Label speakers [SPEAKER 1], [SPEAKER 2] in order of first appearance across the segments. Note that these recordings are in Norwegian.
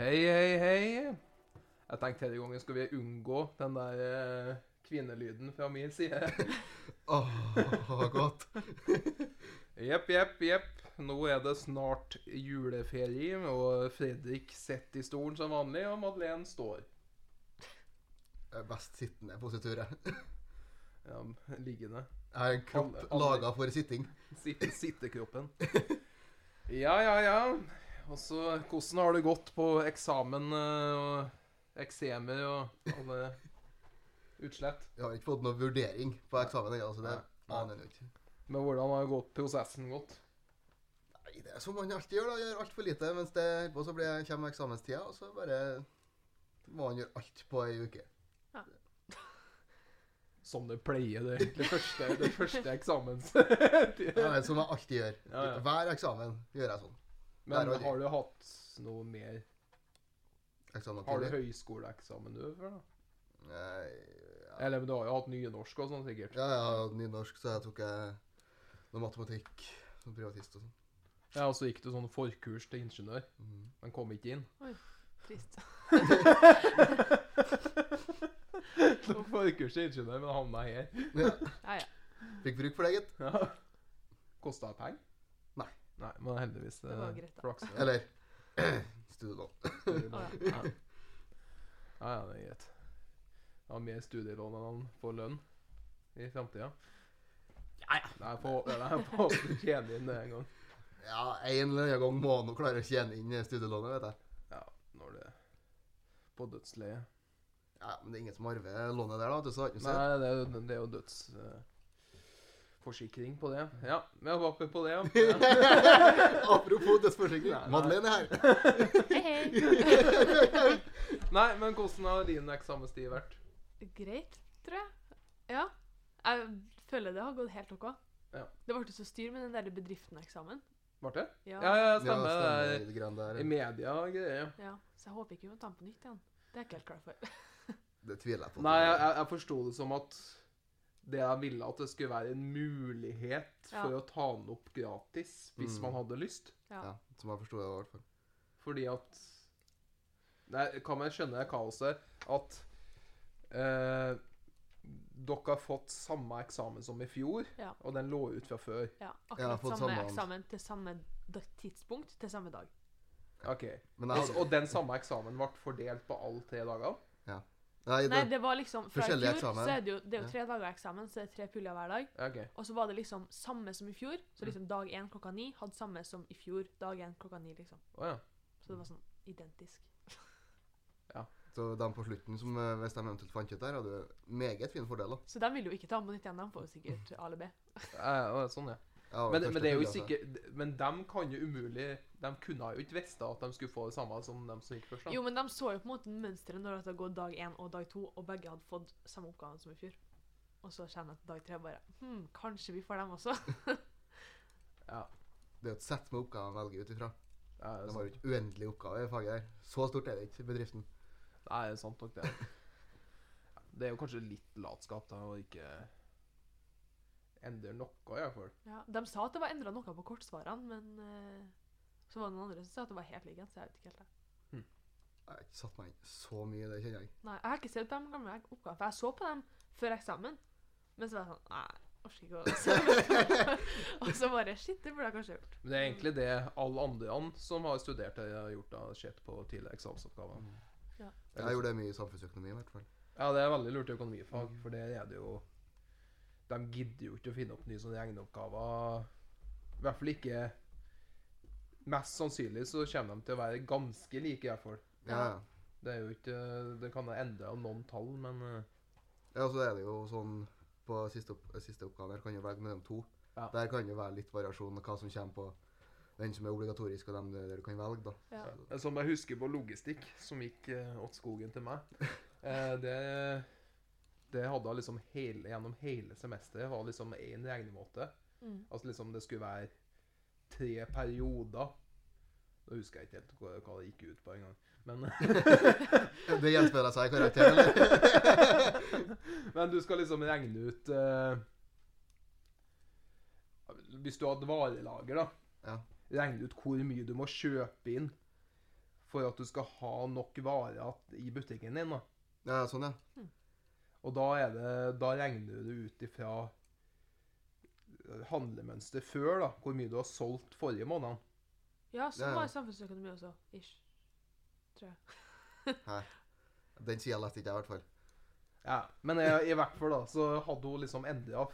[SPEAKER 1] Hei, hei, hei. Jeg tenkte denne gangen skal vi unngå den der eh, kvinnelyden fra min side.
[SPEAKER 2] Åh, godt.
[SPEAKER 1] Jepp, jepp, jepp. Nå er det snart juleferie, og Fredrik sitter i stolen som vanlig, og Madeleine står.
[SPEAKER 2] Jeg er Eh, best sittende positur, jeg.
[SPEAKER 1] Ja, liggende.
[SPEAKER 2] Jeg har en kropp
[SPEAKER 1] Alle- alle-
[SPEAKER 2] laga for sitting.
[SPEAKER 1] Sitte, sittekroppen. Ja, ja, ja. Og så, hvordan har det gått på eksamen eh, og eksemer og alle utslett?
[SPEAKER 2] Jeg har ikke fått noen vurdering på eksamen ennå, så det
[SPEAKER 1] Nei.
[SPEAKER 2] aner jeg ikke.
[SPEAKER 1] Men hvordan har gått prosessen gått?
[SPEAKER 2] Nei, det er som man alltid gjør, da. Gjør altfor lite. Mens det holder på, så blir, kommer eksamenstida, og så bare må man gjøre alt på ei uke.
[SPEAKER 1] Som det pleier, det, det første, det første eksamens. Men
[SPEAKER 2] Ja, det er som jeg alltid gjør.
[SPEAKER 1] Ja, ja.
[SPEAKER 2] Hver eksamen gjør jeg sånn. Der var de.
[SPEAKER 1] har du hatt noe mer?
[SPEAKER 2] Eksamen
[SPEAKER 1] Har du
[SPEAKER 2] tidlig.
[SPEAKER 1] høyskoleeksamen du før, da?
[SPEAKER 2] Nei, ja.
[SPEAKER 1] Eller men du har jo hatt nynorsk og sånn, sikkert.
[SPEAKER 2] Ja, jeg hadde nynorsk, så jeg tok jeg noe matematikk som privatist og sånn.
[SPEAKER 1] Ja, Og så gikk du sånn forkurs til ingeniør,
[SPEAKER 2] Mhm.
[SPEAKER 1] men kom ikke inn.
[SPEAKER 3] Trist.
[SPEAKER 1] Tok forkurs til ingeniør, men havna her.
[SPEAKER 3] Ja, ja.
[SPEAKER 2] Fikk bruk for det, gitt.
[SPEAKER 1] Ja. Kosta det penger?
[SPEAKER 2] Nei.
[SPEAKER 1] Nei, men heldigvis eh,
[SPEAKER 3] Det var greit, da.
[SPEAKER 1] flaks. Ja,
[SPEAKER 2] Eller studielån.
[SPEAKER 1] ja, ja, det er greit. Jeg har mer studielån enn han får lønn i framtida.
[SPEAKER 2] Ja, ja.
[SPEAKER 1] Det er på det er på at du tjener inn det en gang.
[SPEAKER 2] Ja, en eller annen gang må han nå klare å tjene inn studielånet, vet jeg.
[SPEAKER 1] Ja, når det På dødsleiet.
[SPEAKER 2] Ja, Men det er ingen som arver lånet der, da. Du, så har ikke
[SPEAKER 1] Nei,
[SPEAKER 2] noe sett.
[SPEAKER 1] det er, jo- det er jo dødsforsikring på det. Ja, vi har vappe på det. Ja.
[SPEAKER 2] Apropos dødsforsikring.
[SPEAKER 1] Nei, nei.
[SPEAKER 2] Madeleine er her.
[SPEAKER 3] Hei, hei.
[SPEAKER 1] Nei, men hvordan har din eksamenstid vært?
[SPEAKER 3] Greit, tror jeg. Ja. Jeg føler det har gått helt OK.
[SPEAKER 1] Ja.
[SPEAKER 3] Det ble så styr med den der bedriften-eksamen.
[SPEAKER 1] Var det?
[SPEAKER 3] Ja.
[SPEAKER 1] Ja, ja, stemmer.
[SPEAKER 2] Ja,
[SPEAKER 1] det
[SPEAKER 2] stemmer. det greiene
[SPEAKER 1] er
[SPEAKER 2] der.
[SPEAKER 1] I media og greier.
[SPEAKER 3] Ja, Så jeg håper ikke vi må ta den på nytt igjen. Det er jeg ikke helt klar for.
[SPEAKER 2] Det tviler jeg på.
[SPEAKER 1] Nei, jeg, jeg- jeg forsto det som at det jeg ville at det skulle være en mulighet
[SPEAKER 3] Ja.
[SPEAKER 1] for å ta den opp gratis, hvis
[SPEAKER 2] Mm.
[SPEAKER 1] man hadde lyst.
[SPEAKER 3] Ja.
[SPEAKER 2] Ja, som jeg forsto det, i hvert fall.
[SPEAKER 1] Fordi at Nei, kan man skjønne det kaoset at eh, dere har fått samme eksamen som i fjor,
[SPEAKER 3] Ja.
[SPEAKER 1] og den lå ut fra før.
[SPEAKER 3] Ja,
[SPEAKER 2] Jeg har
[SPEAKER 3] Akkurat
[SPEAKER 2] fått
[SPEAKER 3] samme
[SPEAKER 2] samme an-
[SPEAKER 3] eksamen til samme da- tidspunkt til samme dag.
[SPEAKER 1] Ok.
[SPEAKER 2] Men jeg
[SPEAKER 1] Og,
[SPEAKER 2] hadde,
[SPEAKER 1] og den samme eksamen ble fordelt på alle tre dagene?
[SPEAKER 2] nei, det,
[SPEAKER 3] Nei, det var liksom Fra i
[SPEAKER 2] Forskjellige
[SPEAKER 3] fjor så
[SPEAKER 2] eksamen.
[SPEAKER 3] er det jo, det er jo tre dager eksamen, så det er tre puller hver dag.
[SPEAKER 1] Ok.
[SPEAKER 3] Og så var det liksom samme som i fjor. Så
[SPEAKER 2] Mm.
[SPEAKER 3] liksom dag én klokka ni hadde samme som i fjor. Dag én klokka ni, liksom.
[SPEAKER 1] Å ja.
[SPEAKER 3] Så det var sånn identisk.
[SPEAKER 2] så de på slutten, som, eh, hvis de eventuelt fant ut der, hadde meget fine fordeler.
[SPEAKER 3] Så de vil jo ikke ta den på nytt igjen. De får jo sikkert A eller B.
[SPEAKER 1] Eh, å, sånn, ja.
[SPEAKER 2] Jeg var
[SPEAKER 1] Men,
[SPEAKER 2] første
[SPEAKER 1] men det er jo
[SPEAKER 2] til, altså.
[SPEAKER 1] sikkert Men dem kan jo umulig De kunne jo ikke visst at de skulle få det samme som dem som gikk først. da.
[SPEAKER 3] Jo, men de så jo på en måte mønsteret når det hadde gått dag én og dag to, og begge hadde fått samme oppgaven som i fjor. Og så kjenner jeg til dag tre bare Hm, kanskje vi får dem også.
[SPEAKER 1] Ja.
[SPEAKER 2] altså. Det er jo et sett med oppgaver å velge ut ifra.
[SPEAKER 1] ja, det er
[SPEAKER 2] De
[SPEAKER 1] sant.
[SPEAKER 2] har jo ikke uendelige oppgaver i faget der. Så stort er det ikke, bedriften.
[SPEAKER 1] Nei, det er sant nok det. Ja, Det er jo kanskje litt latskap da, å ikke endre noe, i hvert fall.
[SPEAKER 3] Ja, de sa at det var endra noe på kortsvarene, men eh, så var det noen andre som sa at det var helt likt, så jeg vet ikke helt. det.
[SPEAKER 2] Jeg har ikke satt meg inn så mye i det, kjenner jeg.
[SPEAKER 3] Nei, Jeg har ikke sett på de gamle oppgavene, for jeg så på dem før eksamen. Men så var jeg sånn Nei, orker ikke å se på dem. Og så bare Shit, det burde jeg kanskje gjort.
[SPEAKER 1] Men det er egentlig det alle andre an som har studert det, har gjort da, sett på tidligere eksamensoppgaver.
[SPEAKER 3] Mm. Ja.
[SPEAKER 1] Det er
[SPEAKER 2] Jeg
[SPEAKER 1] liksom-
[SPEAKER 2] gjorde det mye i samfunnsøkonomi, i hvert fall.
[SPEAKER 1] Ja, det er veldig lurt i økonomifag, for det er det jo De gidder jo ikke å finne opp nye sånne regneoppgaver. I hvert fall ikke Mest sannsynlig så kommer de til å være ganske like, i hvert fall.
[SPEAKER 2] Ja, ja.
[SPEAKER 1] Det er jo ikke Det kan ha endra noen tall, men eh,
[SPEAKER 2] Ja, så er det jo sånn på siste, opp, siste oppgave her kan du velge mellom to.
[SPEAKER 1] Ja.
[SPEAKER 2] Der kan det jo være litt variasjon hva som kommer på den som er obligatorisk, og dem der du kan velge, da.
[SPEAKER 3] Ja.
[SPEAKER 1] Eh, Som jeg husker på logistikk, som gikk eh, åt skogen til meg. Eh, det, det hadde jeg liksom hele, gjennom hele semesteret var liksom én regnemåte.
[SPEAKER 3] Mm.
[SPEAKER 1] Altså liksom det skulle være tre perioder. Da husker jeg ikke helt hva, hva det gikk ut på engang. Men,
[SPEAKER 2] Det gjenspeiler seg i karakteren, eller?
[SPEAKER 1] men du skal liksom regne ut eh, Hvis du har et varelager, da.
[SPEAKER 2] Ja.
[SPEAKER 1] Regne ut hvor mye du må kjøpe inn for at du skal ha nok varer at- i butikken din. da.
[SPEAKER 2] Ja, sånn, ja.
[SPEAKER 1] Og da, er det, da regner du ut ifra handlemønster før, da, hvor mye du har solgt forrige måned.
[SPEAKER 3] Ja,
[SPEAKER 2] Ja,
[SPEAKER 3] sånn
[SPEAKER 2] ja.
[SPEAKER 3] var samfunnsøkonomi også. Ish.
[SPEAKER 2] Den sida leste ikke jeg, i hvert fall.
[SPEAKER 1] Ja, men jeg, i hvert fall da, så hadde hun liksom endra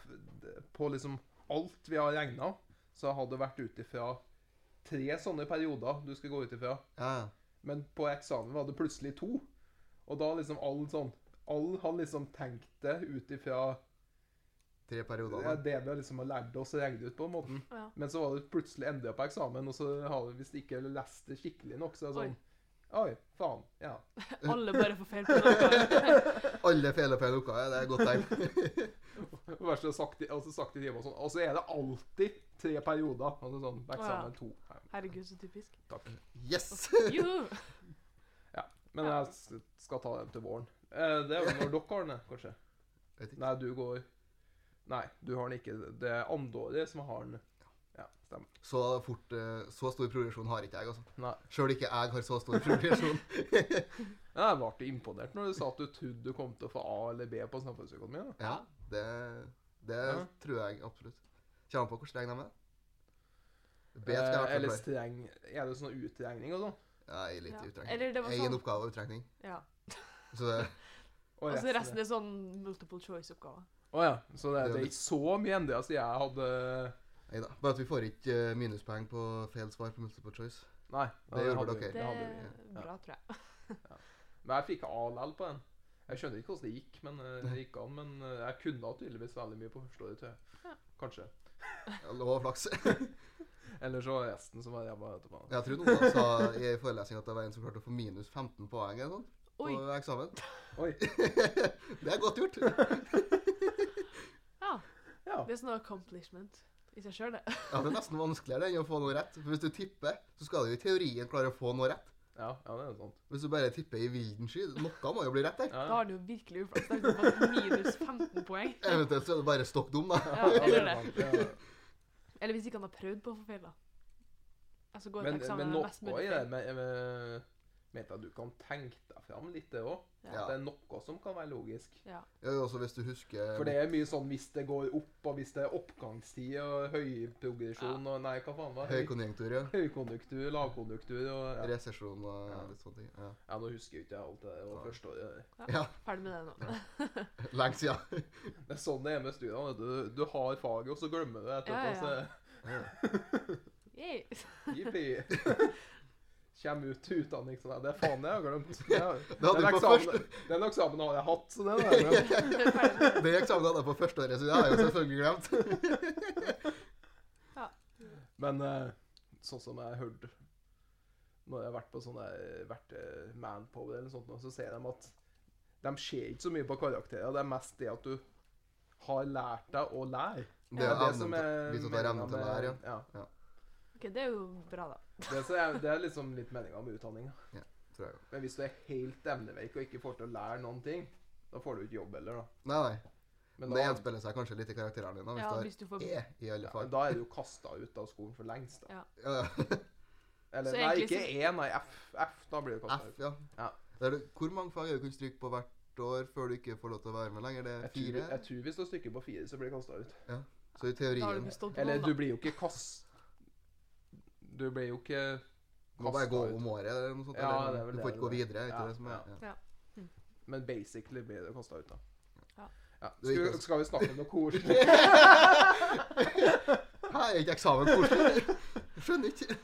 [SPEAKER 1] på liksom alt vi har regna. Så hadde det vært ut ifra tre sånne perioder du skal gå ut ifra.
[SPEAKER 2] Ja, ja.
[SPEAKER 1] Men på eksamen var det plutselig to. Og da liksom all sånn Alle har liksom tenkt det ut ifra
[SPEAKER 2] Tre perioder.
[SPEAKER 1] ja,
[SPEAKER 2] da.
[SPEAKER 1] det vi liksom har lært oss å regne ut, på en måte.
[SPEAKER 3] Ja.
[SPEAKER 1] Men så var det plutselig endra på eksamen, og så har vi visst ikke lest det skikkelig nok. Så er det
[SPEAKER 3] Oi.
[SPEAKER 1] sånn Oi, faen. Ja.
[SPEAKER 3] Alle bare får feil på noe.
[SPEAKER 2] Alle fele feil oppgave. Det er et godt tegn.
[SPEAKER 1] Vær så sagt, og så sagt i timen og sånn. Og så er det alltid tre perioder. Altså sånn, det er ikke
[SPEAKER 3] Å, ja.
[SPEAKER 1] sammen to. Nei,
[SPEAKER 3] Herregud, så typisk.
[SPEAKER 1] takk.
[SPEAKER 2] Yes!
[SPEAKER 3] Juhu!
[SPEAKER 1] Men jeg s- skal ta dem til våren. Eh, Det er vel når dere har den, kanskje?
[SPEAKER 2] Vet ikke.
[SPEAKER 1] Nei, du går Nei, du har den ikke. Det er andreåret som har den. Ja, stemmer.
[SPEAKER 2] Så, fort, eh, så stor progresjon har ikke jeg, altså.
[SPEAKER 1] Nei.
[SPEAKER 2] Sjøl ikke jeg har så stor progresjon.
[SPEAKER 1] Men Jeg ble imponert når du sa at du trodde du kom til å få A eller B på samfunnsøkonomi. da.
[SPEAKER 2] Ja, det, det
[SPEAKER 1] Ja.
[SPEAKER 2] tror jeg absolutt. Kommer an på hvor streng de er. B skal jeg
[SPEAKER 1] Eh,
[SPEAKER 2] i hvert
[SPEAKER 1] Eller
[SPEAKER 2] fall klare.
[SPEAKER 1] streng Er det sånn utregning og sånn?
[SPEAKER 2] Ja, jeg er litt
[SPEAKER 3] Ja.
[SPEAKER 2] i
[SPEAKER 3] Eller det var
[SPEAKER 2] utregning. Én
[SPEAKER 3] sånn-
[SPEAKER 2] oppgave og utregning.
[SPEAKER 3] Ja.
[SPEAKER 2] Så det,
[SPEAKER 1] Og
[SPEAKER 3] Altså, resten
[SPEAKER 1] er-
[SPEAKER 3] er sånn multiple choice-oppgaver.
[SPEAKER 1] Å ja. Så det, det er ikke så mye endra siden jeg hadde
[SPEAKER 2] nei da. Bare at vi får ikke eh, minuspoeng på feil svar på multiple choice.
[SPEAKER 1] Nei. ja,
[SPEAKER 2] gjorde
[SPEAKER 1] hadde vi-
[SPEAKER 2] dere.
[SPEAKER 3] Det
[SPEAKER 1] hadde vi.
[SPEAKER 3] er bra, tror jeg.
[SPEAKER 1] Men jeg fikk A likevel på den. Jeg skjønner ikke hvordan det gikk, men eh, det gikk an. Men eh, jeg kunne tydeligvis veldig mye på førsteåret, tror jeg.
[SPEAKER 3] Ja.
[SPEAKER 1] Kanskje.
[SPEAKER 2] Ja, Det var flaks.
[SPEAKER 1] Eller så var det resten som var ræva etterpå.
[SPEAKER 2] Jeg tror noen sa i forelesninga at det var en som klarte å få minus 15 poeng eller sånn på
[SPEAKER 3] Oi!
[SPEAKER 2] eksamen.
[SPEAKER 1] Oi.
[SPEAKER 2] Det er godt gjort.
[SPEAKER 3] Ja.
[SPEAKER 1] Ja.
[SPEAKER 3] Det er sånn accomplishment i seg sjøl, det.
[SPEAKER 2] Ja, Det er nesten vanskeligere enn å få noe rett. For Hvis du tipper, så skal du i teorien klare å få noe rett.
[SPEAKER 1] Ja, ja, det er sant.
[SPEAKER 2] Hvis du bare tipper i vilden sky, noe må jo bli rett der.
[SPEAKER 1] Ja.
[SPEAKER 3] Da har du jo virkelig uflaks. Da har du fått minus 15 poeng.
[SPEAKER 2] Eventuelt så er du bare stokk dum, da.
[SPEAKER 3] Ja, eller det.
[SPEAKER 1] Ja, ja.
[SPEAKER 3] Eller hvis ikke han har prøvd på å få feil, da. Altså går
[SPEAKER 1] Men,
[SPEAKER 3] et eksamen
[SPEAKER 1] men
[SPEAKER 3] med mest
[SPEAKER 1] noe
[SPEAKER 3] mulig
[SPEAKER 1] i det
[SPEAKER 3] feil.
[SPEAKER 1] med, med, med at du kan tenke deg fram litt, det òg.
[SPEAKER 2] Ja.
[SPEAKER 1] Det er noe som kan være logisk.
[SPEAKER 3] Ja.
[SPEAKER 2] Ja, også hvis du husker
[SPEAKER 1] For det er mye sånn hvis det går opp, og hvis det er oppgangstid og høyprogresjon og Nei, hva faen var det?
[SPEAKER 2] høykonjunktur, ja.
[SPEAKER 1] Høykonjunktur, lavkonjunktur og ja.
[SPEAKER 2] Resesjon og
[SPEAKER 1] Ja.
[SPEAKER 2] litt sånne ting. Ja.
[SPEAKER 1] ja, nå husker jeg ikke alt det der. Og
[SPEAKER 2] Nei.
[SPEAKER 1] førsteåret
[SPEAKER 2] ja.
[SPEAKER 3] Ferdig med det nå.
[SPEAKER 2] Lenge siden.
[SPEAKER 1] Det er sånn det er med studiene. vet Du, du har faget, og så glemmer du det etterpå.
[SPEAKER 3] Ja, ja.
[SPEAKER 2] Ja.
[SPEAKER 3] Yay.
[SPEAKER 1] Så jippi. Kjem ut til utdanning sånn. «Nei, Det er faen jeg har glemt. Det er-
[SPEAKER 2] Det hadde
[SPEAKER 1] den,
[SPEAKER 2] jeg på
[SPEAKER 1] eksamen, den eksamen har jeg hatt, så den har jeg glemt.
[SPEAKER 3] Ferdig med det.
[SPEAKER 2] Det eksamen hadde jeg på første året, så det har jeg jo selvfølgelig glemt.
[SPEAKER 1] Men eh, sånn som jeg hørte når jeg har vært på sånne vært eh, manpower eller sånt, nå, så ser de at de ser ikke så mye på karakterer. Det er mest det at du har lært deg å lære.
[SPEAKER 2] Det er
[SPEAKER 1] det
[SPEAKER 2] evnen til Hvis du tar evnen til å
[SPEAKER 1] meningen
[SPEAKER 2] lære, ja.
[SPEAKER 1] med- ja.
[SPEAKER 3] Ok, det er jo bra, da.
[SPEAKER 1] Det, som er, det er liksom litt meninga med utdanning. da.
[SPEAKER 2] Tror jeg.
[SPEAKER 1] Men hvis du er helt evneveik og ikke får til å lære noen ting, da får du ikke jobb heller, da.
[SPEAKER 2] Nei, nei.
[SPEAKER 1] Men
[SPEAKER 2] Det
[SPEAKER 1] da,
[SPEAKER 2] gjenspeiler seg kanskje litt i karakterene dine.
[SPEAKER 3] Ja,
[SPEAKER 2] Hvis
[SPEAKER 3] hvis du får
[SPEAKER 2] du har E i alle
[SPEAKER 1] ja,
[SPEAKER 2] fag.
[SPEAKER 1] da er du jo kasta ut av skolen for lengst, da.
[SPEAKER 2] Ja, ja.
[SPEAKER 1] Eller
[SPEAKER 3] Så
[SPEAKER 1] nei,
[SPEAKER 3] egentlig
[SPEAKER 1] ikke
[SPEAKER 3] så-
[SPEAKER 1] E, nei, F. F. Da blir du kasta
[SPEAKER 2] F,
[SPEAKER 1] ut.
[SPEAKER 2] ja.
[SPEAKER 1] Ja.
[SPEAKER 2] Det er det- Hvor mange fag er det du kan stryke på hvert år før du ikke får lov til å være med lenger? Det er
[SPEAKER 1] Jeg tror,
[SPEAKER 2] fire?
[SPEAKER 1] jeg tror hvis du har stykket på fire, så blir du kasta ut.
[SPEAKER 2] Så i
[SPEAKER 3] Da har du
[SPEAKER 2] teorien
[SPEAKER 3] bestått på
[SPEAKER 1] Eller du
[SPEAKER 3] noen, da.
[SPEAKER 1] blir jo ikke kast... Du blir jo ikke
[SPEAKER 2] må bare gå
[SPEAKER 1] kastet ut.
[SPEAKER 2] om året eller noe sånt.
[SPEAKER 1] Ja,
[SPEAKER 2] eller
[SPEAKER 1] det er vel
[SPEAKER 2] du
[SPEAKER 1] det,
[SPEAKER 2] får ikke gå
[SPEAKER 1] det er det.
[SPEAKER 2] videre. er Ikke
[SPEAKER 1] Ja,
[SPEAKER 2] det som er,
[SPEAKER 1] ja.
[SPEAKER 2] ja.
[SPEAKER 1] Men basically blir du kasta ut, da.
[SPEAKER 3] Ja.
[SPEAKER 2] Det er ikke
[SPEAKER 1] Skal,
[SPEAKER 2] altså-
[SPEAKER 1] skal vi snakke om noe koselig?
[SPEAKER 2] Her er ikke eksamen koselig. Skjønner ikke.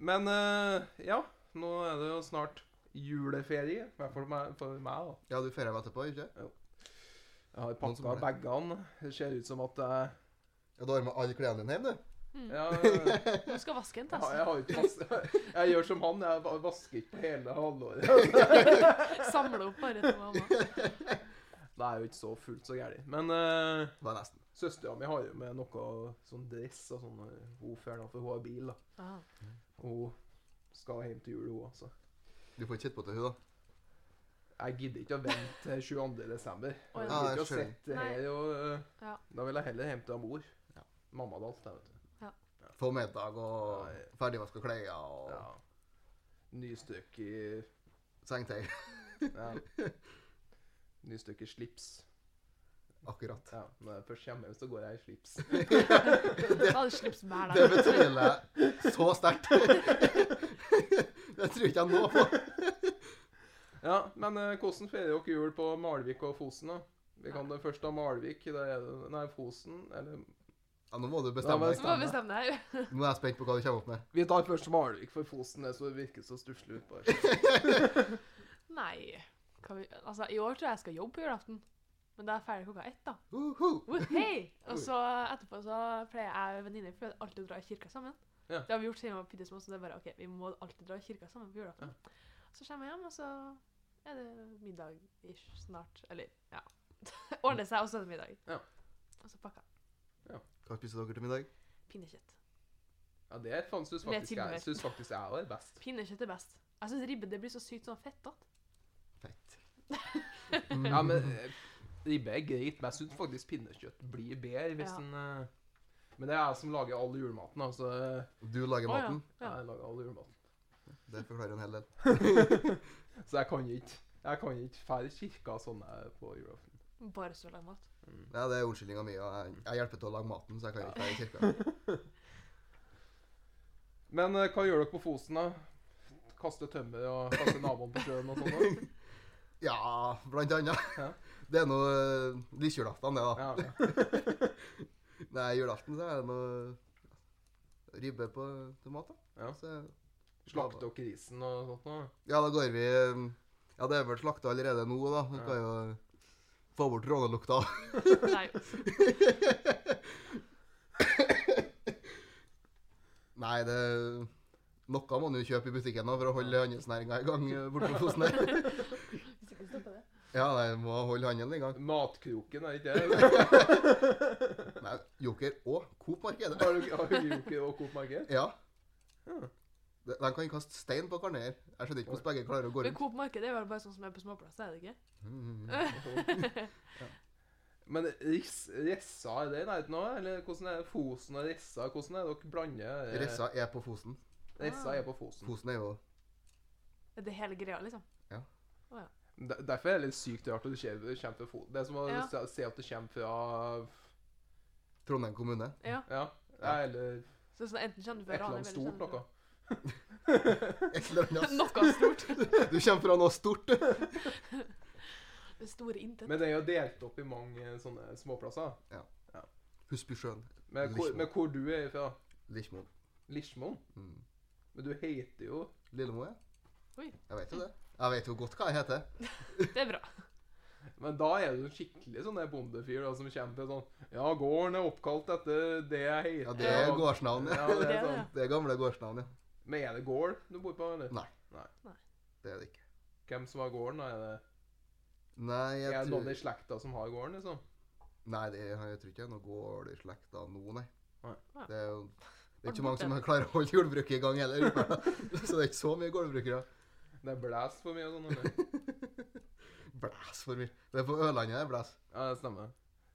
[SPEAKER 1] Men eh, ja, nå er det jo snart juleferie. I hvert fall for meg, for meg da.
[SPEAKER 2] Ja, du feirer meg etterpå, ikke
[SPEAKER 1] Jeg har
[SPEAKER 2] Noen som
[SPEAKER 1] pakka
[SPEAKER 2] har det?
[SPEAKER 1] bagene. Det ser ut som at jeg
[SPEAKER 2] Ja, Du har med alle klærne dine hjem, du.
[SPEAKER 3] Mm.
[SPEAKER 1] ja, jeg,
[SPEAKER 3] Du Hmm. skal vaske en,
[SPEAKER 1] har-
[SPEAKER 3] tass.
[SPEAKER 1] jeg har ikke vaske... Jeg gjør som han, jeg va- vasker ikke på hele halvåret.
[SPEAKER 3] Samle opp bare til mamma.
[SPEAKER 1] Det er jo ikke så fullt så gærent. Men uh,
[SPEAKER 2] Det var nesten.
[SPEAKER 1] søstera mi har jo med noe sånn dress og sånn. eh, Hun drar for hun har bil, da.
[SPEAKER 3] Ah.
[SPEAKER 1] Hun skal hjem til jul, hun også.
[SPEAKER 2] Du får ikke sett på til henne, da.
[SPEAKER 1] Jeg gidder ikke å vente til 22. desember.
[SPEAKER 3] Oi,
[SPEAKER 1] Jeg
[SPEAKER 3] da.
[SPEAKER 1] gidder ikke
[SPEAKER 2] Ja,
[SPEAKER 1] å
[SPEAKER 2] skjønner.
[SPEAKER 1] sette det
[SPEAKER 3] Nei.
[SPEAKER 1] her og øh,
[SPEAKER 3] Ja.
[SPEAKER 1] Da vil jeg heller hjem til mor.
[SPEAKER 2] Ja.
[SPEAKER 1] Mamma hadde alt, jeg, vet du.
[SPEAKER 2] Få middag og
[SPEAKER 1] Nei.
[SPEAKER 2] ferdigvaska klær og
[SPEAKER 1] Ja. Nystøk i
[SPEAKER 2] Sengetøy.
[SPEAKER 1] ja. Nystøk i slips.
[SPEAKER 2] Akkurat.
[SPEAKER 1] Ja, når jeg først kommer hjem, så går jeg i slips.
[SPEAKER 3] Da hadde du slips hver
[SPEAKER 2] Det
[SPEAKER 3] dag.
[SPEAKER 2] betviler jeg så sterkt. Det tror ikke jeg nå på.
[SPEAKER 1] Ja, men eh, hvordan feirer dere jul på Malvik og Fosen, da? Vi kan det først av Malvik. Der er det Nei, Fosen. Eller
[SPEAKER 2] Ja, nå må du
[SPEAKER 1] Ja,
[SPEAKER 2] bestemme
[SPEAKER 1] men-
[SPEAKER 3] Så må vi
[SPEAKER 2] deg.
[SPEAKER 3] bestemme det her.
[SPEAKER 2] Nå er jeg spent på hva du kommer opp med.
[SPEAKER 1] Vi tar først Malvik, for Fosen er så virker så stusslig utpå her.
[SPEAKER 3] Nei. Kan vi, altså, I år tror jeg jeg skal jobbe på julaften. Men da er jeg ferdig klokka ett, da.
[SPEAKER 2] Uhu.
[SPEAKER 3] Hei! Og så etterpå så pleier jeg og venninner for alltid å dra i kirka sammen.
[SPEAKER 1] Ja.
[SPEAKER 3] Det har vi gjort siden vi var piddesmå, så det er bare OK, vi må alltid dra i kirka sammen på julaften. Så kommer jeg hjem, og så er det middag-ish snart. Eller, ja. Ordner seg, og så er det middag.
[SPEAKER 1] Ja.
[SPEAKER 3] Og så pakka.
[SPEAKER 2] Hva spiser dere til middag?
[SPEAKER 3] Pinnekjøtt.
[SPEAKER 1] Ja, det er faen synes
[SPEAKER 3] Men jeg
[SPEAKER 1] faktisk jeg
[SPEAKER 3] tilhører.
[SPEAKER 1] synes faktisk jeg er best.
[SPEAKER 3] Pinnekjøtt er best. Jeg syns ribbe det blir så sykt sånn fettete.
[SPEAKER 2] Fett.
[SPEAKER 1] Ja, men eh, ribbe er greit, men jeg synes faktisk pinnekjøtt blir bedre hvis
[SPEAKER 3] Ja.
[SPEAKER 1] en eh, Men det er jeg som lager all julematen, altså.
[SPEAKER 2] Du lager
[SPEAKER 3] Å, ja.
[SPEAKER 2] maten.
[SPEAKER 3] Ja.
[SPEAKER 1] Jeg lager all julematen.
[SPEAKER 2] Det forklarer en hel del.
[SPEAKER 1] Så jeg kan ikke jeg kan ikke fære kirka sånn jeg er på julaften.
[SPEAKER 3] Bare så lag mat.
[SPEAKER 2] Ja, det er unnskyldninga mi. og Jeg, jeg hjelper til å lage maten, så jeg kan ikke være i kirka.
[SPEAKER 1] Men eh, hva gjør dere på Fosen, da? Kaste tømmer og kaste naboen på sjøen og sånn? da?
[SPEAKER 2] Ja, blant annet.
[SPEAKER 1] Ja.
[SPEAKER 2] Det er nå lillejulaften, det, da.
[SPEAKER 1] Ja, ok.
[SPEAKER 2] Nei, julaften så er det noe ribbe på tomat, da.
[SPEAKER 1] Ja.
[SPEAKER 2] Så,
[SPEAKER 1] Slakte dere grisen og sånt noe?
[SPEAKER 2] ja, da går vi um, Ja, det er vel slakta allerede nå, da. Vi skal jo få bort rånelukta.
[SPEAKER 3] Nei,
[SPEAKER 2] Nei, det Noe må man jo kjøpe i butikken da, for å holde handelsnæringa i gang eh, borte på Fosen her.
[SPEAKER 3] hvis ikke stopper det.
[SPEAKER 2] Ja, nei, må holde handelen i gang.
[SPEAKER 1] Matkroken, er ikke det?
[SPEAKER 2] Nei, Joker og Coop-markedet.
[SPEAKER 1] Har dere- Har dere Joker og Coop Market?
[SPEAKER 2] Ja.
[SPEAKER 1] Ja.
[SPEAKER 2] De de kan kaste stein på Karnøyer. Jeg skjønner ikke hvordan begge klarer å gå
[SPEAKER 3] Men
[SPEAKER 2] rundt.
[SPEAKER 3] Coop Marked er vel bare sånn som er på småplasser, er det ikke?
[SPEAKER 2] Mm.
[SPEAKER 1] Men Riss- Rissa, er det i nærheten òg? Eller hvordan er det? Fosen og Rissa? Hvordan er det dere blander eh,
[SPEAKER 2] Rissa er på Fosen.
[SPEAKER 1] Rissa er på Fosen.
[SPEAKER 2] Fosen er jo
[SPEAKER 3] Er det hele greia, liksom?
[SPEAKER 1] Der- Derfor er det litt sykt rart at du kje- kommer fra Fosen. Det er som å
[SPEAKER 3] Ja.
[SPEAKER 1] se- se at du kommer fra
[SPEAKER 2] Trondheim kommune.
[SPEAKER 3] Ja.
[SPEAKER 1] Ja,
[SPEAKER 2] Ja.
[SPEAKER 1] eller
[SPEAKER 3] Så sånn, enten kjenner du
[SPEAKER 1] et
[SPEAKER 3] fra
[SPEAKER 1] eller
[SPEAKER 3] Ranheim,
[SPEAKER 1] annet
[SPEAKER 3] eller
[SPEAKER 1] stort
[SPEAKER 3] kjenner du
[SPEAKER 1] noe.
[SPEAKER 3] fra-
[SPEAKER 2] Et eller annet
[SPEAKER 3] Noe stort.
[SPEAKER 2] Du kommer fra noe stort.
[SPEAKER 3] Det store intet.
[SPEAKER 1] Men det er jo delt opp i mange eh, sånne småplasser.
[SPEAKER 2] Husbysjøen.
[SPEAKER 1] Men hvor,
[SPEAKER 2] Lismo.
[SPEAKER 1] men hvor du er fra?
[SPEAKER 2] Lismo.
[SPEAKER 1] Lismoen?
[SPEAKER 2] Mm.
[SPEAKER 1] Men du heter jo
[SPEAKER 2] Lillemo, ja.
[SPEAKER 3] Oi.
[SPEAKER 2] Jeg vet jo det. Jeg vet jo godt hva jeg heter.
[SPEAKER 3] Det er bra.
[SPEAKER 1] Men da er du en skikkelig sånn der bondefyr da, som kommer til sånn Ja, gården er oppkalt etter det jeg heter.
[SPEAKER 2] Ja, Det er
[SPEAKER 1] og-
[SPEAKER 2] gårdsnavn.
[SPEAKER 1] Ja,
[SPEAKER 2] Ja.
[SPEAKER 1] det
[SPEAKER 3] Det
[SPEAKER 1] er
[SPEAKER 3] er
[SPEAKER 1] sånn.
[SPEAKER 2] Det er gamle gårdsnavn, ja.
[SPEAKER 1] Men er det gård du bor på, eller?
[SPEAKER 2] Nei.
[SPEAKER 1] Nei.
[SPEAKER 2] Det er det ikke.
[SPEAKER 1] Hvem som har gården? da? Er det,
[SPEAKER 2] Nei,
[SPEAKER 1] er
[SPEAKER 2] jeg
[SPEAKER 1] det noen i
[SPEAKER 2] tror
[SPEAKER 1] slekta som har gården, liksom?
[SPEAKER 2] Nei, det er, jeg tror ikke det er noe gård i slekta nå, nei.
[SPEAKER 1] Nei.
[SPEAKER 2] Det er jo det er
[SPEAKER 3] Har
[SPEAKER 2] ikke mange
[SPEAKER 3] du
[SPEAKER 2] som klarer å holde jordbruket i gang heller. Så det er ikke så mye gårdbrukere.
[SPEAKER 1] Det er blæs for mye og sånn, eller?
[SPEAKER 2] Blæs for mye. Det er på Ørlandet det er blæs.
[SPEAKER 1] Ja, det stemmer.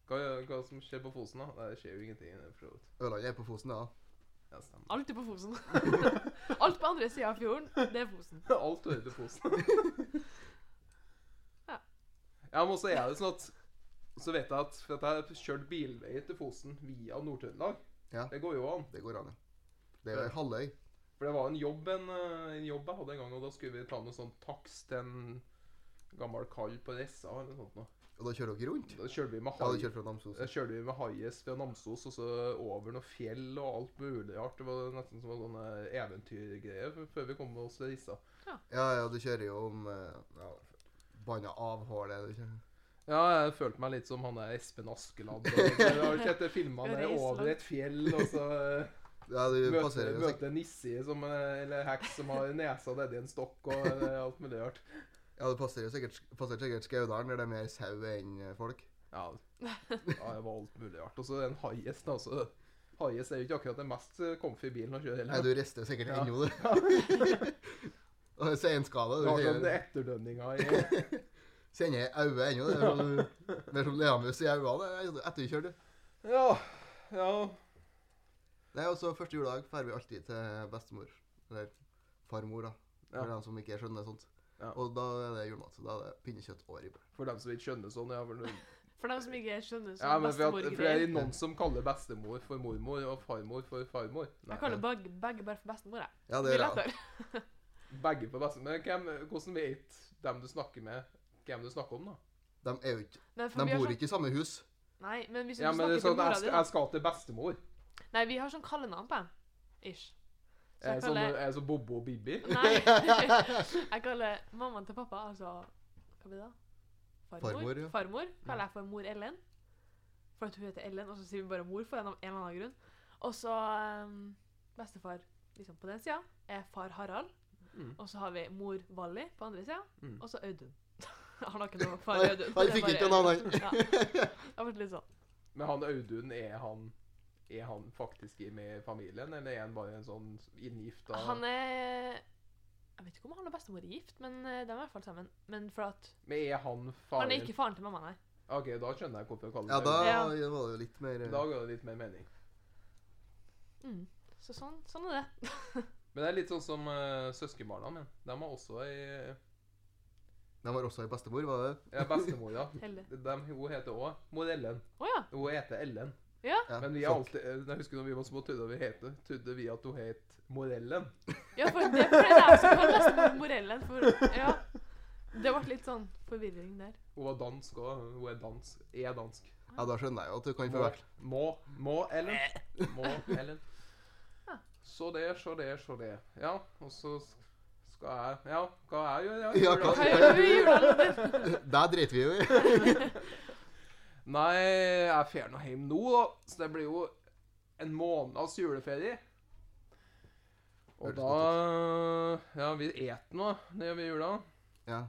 [SPEAKER 1] Hva, hva som skjer på Fosen, da? Nei, Det skjer jo ingenting. det er for så vidt.
[SPEAKER 2] Ørlandet er på Fosen, ja.
[SPEAKER 1] Ja, det stemmer.
[SPEAKER 3] Alt er på Fosen. Alt på andre sida av fjorden, det er Fosen.
[SPEAKER 1] Alt hører til Fosen.
[SPEAKER 3] Ja.
[SPEAKER 1] ja, men også er det sånn at Så vet jeg at for at jeg har kjørt bilvei til Fosen via Nord-Trøndelag.
[SPEAKER 2] Ja.
[SPEAKER 1] Det går jo an.
[SPEAKER 2] Det går an, ja. Det er jo en halvøy.
[SPEAKER 1] For det var en jobb, en, eh, en jobb jeg hadde en gang, og da skulle vi ta med sånn taks til en gammel kall på Ressa eller noe sånt. nå.
[SPEAKER 2] Og da kjører dere rundt?
[SPEAKER 1] Da kjørte vi med
[SPEAKER 2] Ja, du
[SPEAKER 1] hai.
[SPEAKER 2] kjører fra Namsos.
[SPEAKER 1] Da kjørte vi med haies fra Namsos og så over noen fjell og alt mulig rart. Det var nesten som en sånn eh, eventyrgreie f- før vi kom oss til Rissa.
[SPEAKER 2] Ja, ja, du kjører jo om eh, ja, Banna avhålet du kjører.
[SPEAKER 1] Ja, jeg følte meg litt som han der Espen Askeladd. og- Jeg Har ikke etter filma det
[SPEAKER 3] Reisland.
[SPEAKER 1] over et fjell, og så eh,
[SPEAKER 2] Ja, du passerer
[SPEAKER 1] møter,
[SPEAKER 2] jo sikkert
[SPEAKER 1] møter en nisse som, eh, eller heks som har nesa nedi en stokk og eh, alt mulig rart.
[SPEAKER 2] Ja, du passerer jo sikkert, passerer sikkert Skaudalen, der det er mer sau enn eh, folk.
[SPEAKER 1] Ja, ja, det var alt mulig rart. Og så en haies, da. Så haies er jo ikke akkurat den mest eh, comfy bilen å kjøre
[SPEAKER 2] Nei,
[SPEAKER 1] heller.
[SPEAKER 2] du rister jo sikkert
[SPEAKER 1] Ja.
[SPEAKER 2] ennå, du. Og det er seinskade.
[SPEAKER 1] Det
[SPEAKER 2] Du
[SPEAKER 1] var sånn
[SPEAKER 2] kjenner-
[SPEAKER 1] etterdønninga i
[SPEAKER 2] kjenner øyet ennå. Det er sånn, mer som leamus i øynene det er etter du kjører, du.
[SPEAKER 1] Ja. Ja.
[SPEAKER 2] Nei, og så første juledag drar vi alltid til bestemor. Eller farmor, da. For
[SPEAKER 1] Ja.
[SPEAKER 2] dem som ikke skjønner sånt.
[SPEAKER 1] Ja.
[SPEAKER 2] Og da er det julemat. Så da er det pinnekjøtt og ribbe.
[SPEAKER 1] For dem som ikke skjønner sånn. Ja, for,
[SPEAKER 3] For dem som ikke skjønner
[SPEAKER 1] ja,
[SPEAKER 3] sånn
[SPEAKER 1] men for, at, for det er
[SPEAKER 3] bestemorgreier.
[SPEAKER 1] noen som kaller bestemor for mormor, og farmor for farmor. Nei,
[SPEAKER 3] Jeg kaller begge, begge bare for bestemor, jeg.
[SPEAKER 2] Ja,
[SPEAKER 3] Det
[SPEAKER 2] det
[SPEAKER 3] er
[SPEAKER 2] gjør jeg.
[SPEAKER 3] lettere.
[SPEAKER 1] Begge for bestemor. Men hvem, hvordan vet dem du snakker med, hvem du snakker om, da?
[SPEAKER 2] De, er jo ikke,
[SPEAKER 3] Men for
[SPEAKER 2] de
[SPEAKER 3] vi har
[SPEAKER 2] bor
[SPEAKER 3] sånn-
[SPEAKER 2] ikke i samme hus.
[SPEAKER 3] Nei, men hvis du
[SPEAKER 1] Ja, men det
[SPEAKER 3] snakker
[SPEAKER 1] er sånn
[SPEAKER 3] til
[SPEAKER 1] at
[SPEAKER 3] mora
[SPEAKER 1] jeg,
[SPEAKER 3] di,
[SPEAKER 1] skal-
[SPEAKER 3] da.
[SPEAKER 1] jeg skal til bestemor.
[SPEAKER 3] Nei, vi har sånn kallenavn på dem. Ish. Så
[SPEAKER 1] Er
[SPEAKER 3] jeg
[SPEAKER 1] det sånn,
[SPEAKER 3] kaller
[SPEAKER 1] er det sånn Bobo og Bibi?
[SPEAKER 3] Nei. Jeg kaller mammaen til pappa, altså Hva blir det? da? Farmor.
[SPEAKER 2] Farmor, ja.
[SPEAKER 3] Farmor kaller jeg for mor Ellen. For at hun heter Ellen, og så sier vi bare mor for en av en eller annen grunn. Og så ehm, bestefar liksom på den sida er far Harald.
[SPEAKER 1] Mm.
[SPEAKER 3] Og så har vi mor Valli på andre sida,
[SPEAKER 1] Mm.
[SPEAKER 3] og så Audun. Han har ikke noe far
[SPEAKER 2] Nei,
[SPEAKER 3] Audun.
[SPEAKER 2] han
[SPEAKER 3] det er
[SPEAKER 2] fikk
[SPEAKER 3] bare
[SPEAKER 2] ikke noe
[SPEAKER 3] Audun. Ja. Det har vært litt sånn.
[SPEAKER 1] Men han Audun, er han, er han faktisk i- med i familien, eller er han bare en sånn inngifta
[SPEAKER 3] Han er Jeg vet ikke om han og bestemor er gift, men eh, de er i hvert fall sammen. Men for at
[SPEAKER 1] Men er han faren
[SPEAKER 3] Han er ikke faren til mammaen her.
[SPEAKER 1] OK, da skjønner jeg hvorfor jeg kaller
[SPEAKER 2] Ja, da
[SPEAKER 1] Audun.
[SPEAKER 3] Ja.
[SPEAKER 2] var det jo litt mer
[SPEAKER 1] Da ga det litt mer mening.
[SPEAKER 3] Mm. Så sånn, sånn er det.
[SPEAKER 1] Men det er litt sånn som eh, søskenbarna mine. De har også ei
[SPEAKER 2] De var også ei bestemor, var det?
[SPEAKER 1] ja, bestemor, ja.
[SPEAKER 3] Heldig.
[SPEAKER 1] De, hun heter òg mor Ellen.
[SPEAKER 3] Å ja.
[SPEAKER 1] Hun heter Ellen.
[SPEAKER 2] Ja,
[SPEAKER 1] Men vi har
[SPEAKER 2] fuck.
[SPEAKER 1] alltid, eh, jeg husker når vi var små, trodde vi, het, trodde vi at hun het Morellen.
[SPEAKER 3] ja! For det pleide jeg også å kalle bestemor Morellen. For, ja. Det ble litt sånn forvirring der.
[SPEAKER 1] Hun var dansk òg. Hun er dansk. Er dansk.
[SPEAKER 2] Ja, da skjønner jeg jo at du kan
[SPEAKER 1] Må,
[SPEAKER 2] forveksle.
[SPEAKER 1] må, må Ellen. Må Ellen.
[SPEAKER 3] Ja.
[SPEAKER 1] Så det, så det, så det. Ja, og så s- skal jeg Ja, hva jeg gjør jeg?
[SPEAKER 2] Ja, hva-
[SPEAKER 3] Hva gjør du i jula?
[SPEAKER 2] Der driter vi jo i.
[SPEAKER 1] Nei, jeg drar nå hjem nå, da. Så det blir jo en måneds juleferie. Og
[SPEAKER 2] Høres
[SPEAKER 1] da Ja, vi et nå, det gjør vi i jula.
[SPEAKER 2] Ja.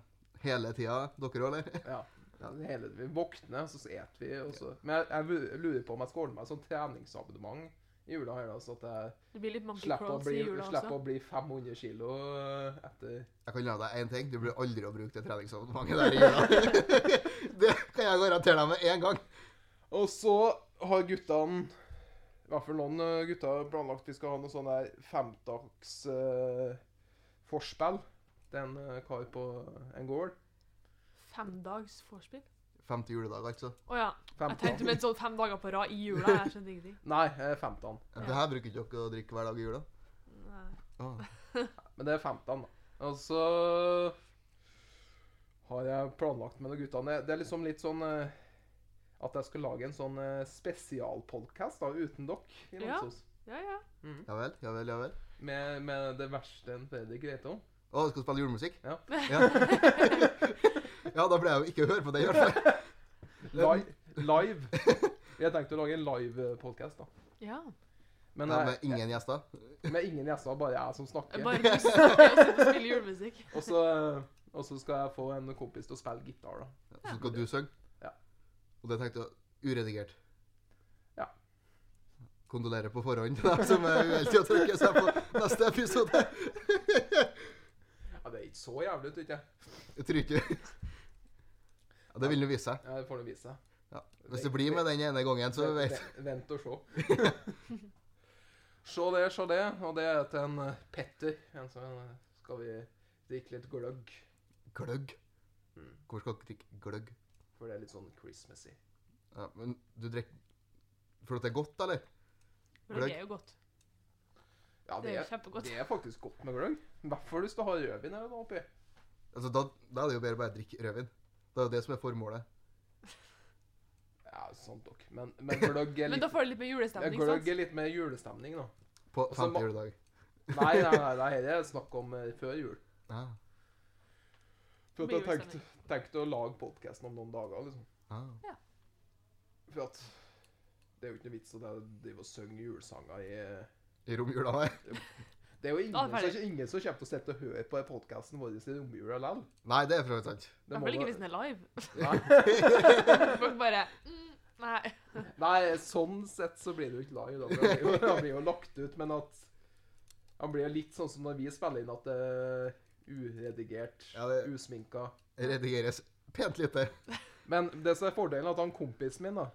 [SPEAKER 2] Hele tida, dere òg, eller?
[SPEAKER 1] Ja.
[SPEAKER 2] Ja.
[SPEAKER 1] Hele, vi våkner, så et vi. Og så. Men jeg, jeg lu- lurer på om jeg skal ordne meg sånn treningsabonnement i jula. her da, Så at jeg
[SPEAKER 3] Det blir litt Monkey
[SPEAKER 1] slipper å
[SPEAKER 3] Crowns
[SPEAKER 1] bli,
[SPEAKER 3] i jula
[SPEAKER 1] slipper
[SPEAKER 3] også.
[SPEAKER 1] å bli 500 kilo eh, etter
[SPEAKER 2] Jeg kan love deg én ting. Du blir aldri å bruke det treningsabonnementet der i jula. det kan jeg garantere deg med én gang.
[SPEAKER 1] Og så har guttene I hvert fall noen eh, gutter planlagt vi skal ha noe sånn der femdags eh, forspill. Det er en eh, kar på en gård.
[SPEAKER 3] Femdags vorspiel.
[SPEAKER 2] Femte juledag, altså.
[SPEAKER 3] Å ja. Jeg tenkte
[SPEAKER 1] Femtan.
[SPEAKER 3] med sånn fem dager på rad i jula. Jeg skjønte ingenting.
[SPEAKER 1] Nei, eh, femtan.
[SPEAKER 2] Det her bruker ikke dere å drikke hver dag i jula?
[SPEAKER 3] Nei.
[SPEAKER 2] Ah.
[SPEAKER 1] Men det er femtan, da. Og så har jeg planlagt med noen guttene Det er liksom litt sånn eh, at jeg skal lage en sånn eh, spesialpodkast da, uten dere. i
[SPEAKER 3] Ja.
[SPEAKER 1] Namsos.
[SPEAKER 3] Ja, ja.
[SPEAKER 1] Mm.
[SPEAKER 2] Ja vel, ja vel, ja vel.
[SPEAKER 1] Med, med det verste en Fredrik vet om.
[SPEAKER 2] Å, du skal spille julemusikk?
[SPEAKER 1] Ja.
[SPEAKER 2] Ja. ja, da blir jeg jo ikke å høre på det, i hvert fall.
[SPEAKER 1] Li live. Vi har tenkt å lage en live-podkast, da.
[SPEAKER 3] ja.
[SPEAKER 1] Men
[SPEAKER 2] Ja,
[SPEAKER 1] eh,
[SPEAKER 2] med ingen gjester.
[SPEAKER 1] med ingen gjester, bare jeg som
[SPEAKER 3] Jeg
[SPEAKER 1] snakker.
[SPEAKER 3] Bare du snakker og sitter og spiller julemusikk.
[SPEAKER 1] Og så eh, og så skal jeg få en kompis til å spille gitar, da.
[SPEAKER 2] Så skal du synge.
[SPEAKER 1] Ja.
[SPEAKER 2] Og det tenkte jeg uredigert.
[SPEAKER 1] Ja.
[SPEAKER 2] Kondolerer på forhånd til dem som er uheldige og trykker seg på neste episode.
[SPEAKER 1] Ja, Det er ikke så jævlig, tror jeg.
[SPEAKER 2] Jeg tror ikke ja, Det vil nå vise seg.
[SPEAKER 1] Ja, Det får nå vise seg.
[SPEAKER 2] Ja. Hvis det blir med den ene gangen, så
[SPEAKER 1] Vent-
[SPEAKER 2] vet
[SPEAKER 1] vent- Vent og se. Se det, se det. Og det er til en eh, Petter. En som eh, skal vi drikke litt gløgg.
[SPEAKER 2] Gløgg.
[SPEAKER 1] Mm.
[SPEAKER 2] Hvor skal dere drikke gløgg?
[SPEAKER 1] For det er litt sånn Christmassy.
[SPEAKER 2] Ja, men du drikker For at det er godt, eller?
[SPEAKER 3] Men det er jo godt.
[SPEAKER 1] Ja,
[SPEAKER 3] Det
[SPEAKER 1] det
[SPEAKER 3] er jo
[SPEAKER 1] er,
[SPEAKER 3] kjempegodt.
[SPEAKER 1] det er faktisk godt med gløgg. I hvert fall hvis du har rødvin eller noe oppi.
[SPEAKER 2] Altså, da, da er det jo bedre å bare drikke rødvin. Det er jo det som er formålet.
[SPEAKER 1] Ja, sant nok. Men, men gløgg er
[SPEAKER 3] Men
[SPEAKER 1] litt,
[SPEAKER 3] da får du litt med
[SPEAKER 1] ja,
[SPEAKER 3] julestemning,
[SPEAKER 1] gløgg
[SPEAKER 3] sant?
[SPEAKER 1] er litt mer julestemning, da.
[SPEAKER 2] På
[SPEAKER 1] Og så
[SPEAKER 2] femte
[SPEAKER 1] må-
[SPEAKER 2] juledag.
[SPEAKER 1] Nei, nei, nei, nei det er snakk om eh, før jul.
[SPEAKER 2] Ah,
[SPEAKER 1] For at jeg
[SPEAKER 3] Mye
[SPEAKER 1] tenkte, tenkte å lage podkasten om noen dager, liksom.
[SPEAKER 2] ah.
[SPEAKER 1] For at det er jo ikke noe vits at jeg driver og synger julesanger i
[SPEAKER 2] I romjula, nei.
[SPEAKER 1] Det er jo ingen,
[SPEAKER 3] Da er det
[SPEAKER 1] så er
[SPEAKER 3] ferdig.
[SPEAKER 1] det ingen som kommer til å sitte og høre på podkasten vår i romjula likevel.
[SPEAKER 2] Nei, det er for så vidt sant.
[SPEAKER 1] Det
[SPEAKER 3] I
[SPEAKER 1] må
[SPEAKER 3] hvert fall ikke
[SPEAKER 1] da-
[SPEAKER 3] hvis den er live.
[SPEAKER 1] Nei.
[SPEAKER 3] Folk bare mm, Nei.
[SPEAKER 1] Nei, sånn sett så blir det jo ikke live. Da. for Han blir jo, han blir jo lagt ut, men at Han blir jo litt sånn som når vi spiller inn, at det er uredigert,
[SPEAKER 2] Ja, det-
[SPEAKER 1] usminka.
[SPEAKER 2] Redigeres pent lite.
[SPEAKER 1] Men det som er fordelen, er at han kompisen min, da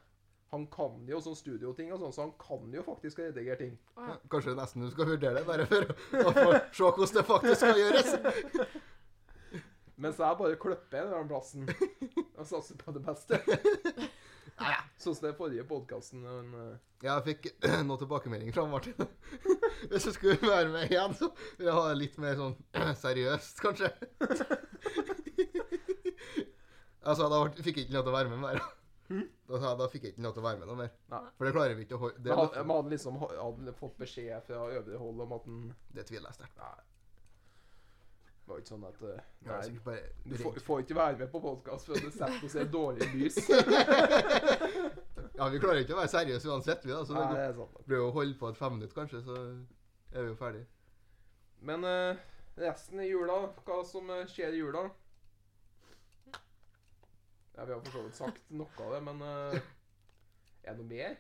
[SPEAKER 1] Han kan jo sånn studioting og sånn, så han kan jo faktisk redigere ting.
[SPEAKER 3] Å ja.
[SPEAKER 2] Ja, Kanskje nesten du skal vurdere det, bare for å få se hvordan det faktisk skal gjøres.
[SPEAKER 1] Mens jeg bare klipper den der plassen og satser på det beste. Sånn som den forrige eh, podkasten.
[SPEAKER 2] Jeg fikk noen tilbakemeldinger fra Martin. Hvis du skulle være med igjen, så ville jeg ha det litt mer sånn seriøst, kanskje. Altså, da ble- fikk jeg ikke lov til å være med mer. Da, sa jeg, da fikk jeg ikke lov til å være med noe mer.
[SPEAKER 1] Hm? Nei.
[SPEAKER 2] For det klarer vi ikke å holde.
[SPEAKER 1] Men
[SPEAKER 2] Det,
[SPEAKER 1] han,
[SPEAKER 2] det,
[SPEAKER 1] men han liksom hadde han fått beskjed fra øvrig hold om at han
[SPEAKER 2] det tviler jeg sterkt
[SPEAKER 1] Nei. Det var ikke sånn at eh,
[SPEAKER 2] på. Jeg var
[SPEAKER 1] Nei,
[SPEAKER 2] sikkert bare
[SPEAKER 1] du
[SPEAKER 2] redd.
[SPEAKER 1] får, får ikke være med på podkast før du setter oss i et dårlig lys.
[SPEAKER 2] Ja, vi klarer ikke å være seriøse uansett, vi da. Så
[SPEAKER 1] Nei, det
[SPEAKER 2] det
[SPEAKER 1] er sant.
[SPEAKER 2] blir jo å holde på et fem minutter, kanskje, så er vi jo ferdige.
[SPEAKER 1] Men eh, resten i jula, hva som eh, skjer i jula? Ja, Vi har for så vidt sagt noe av det, men eh, er det noe mer?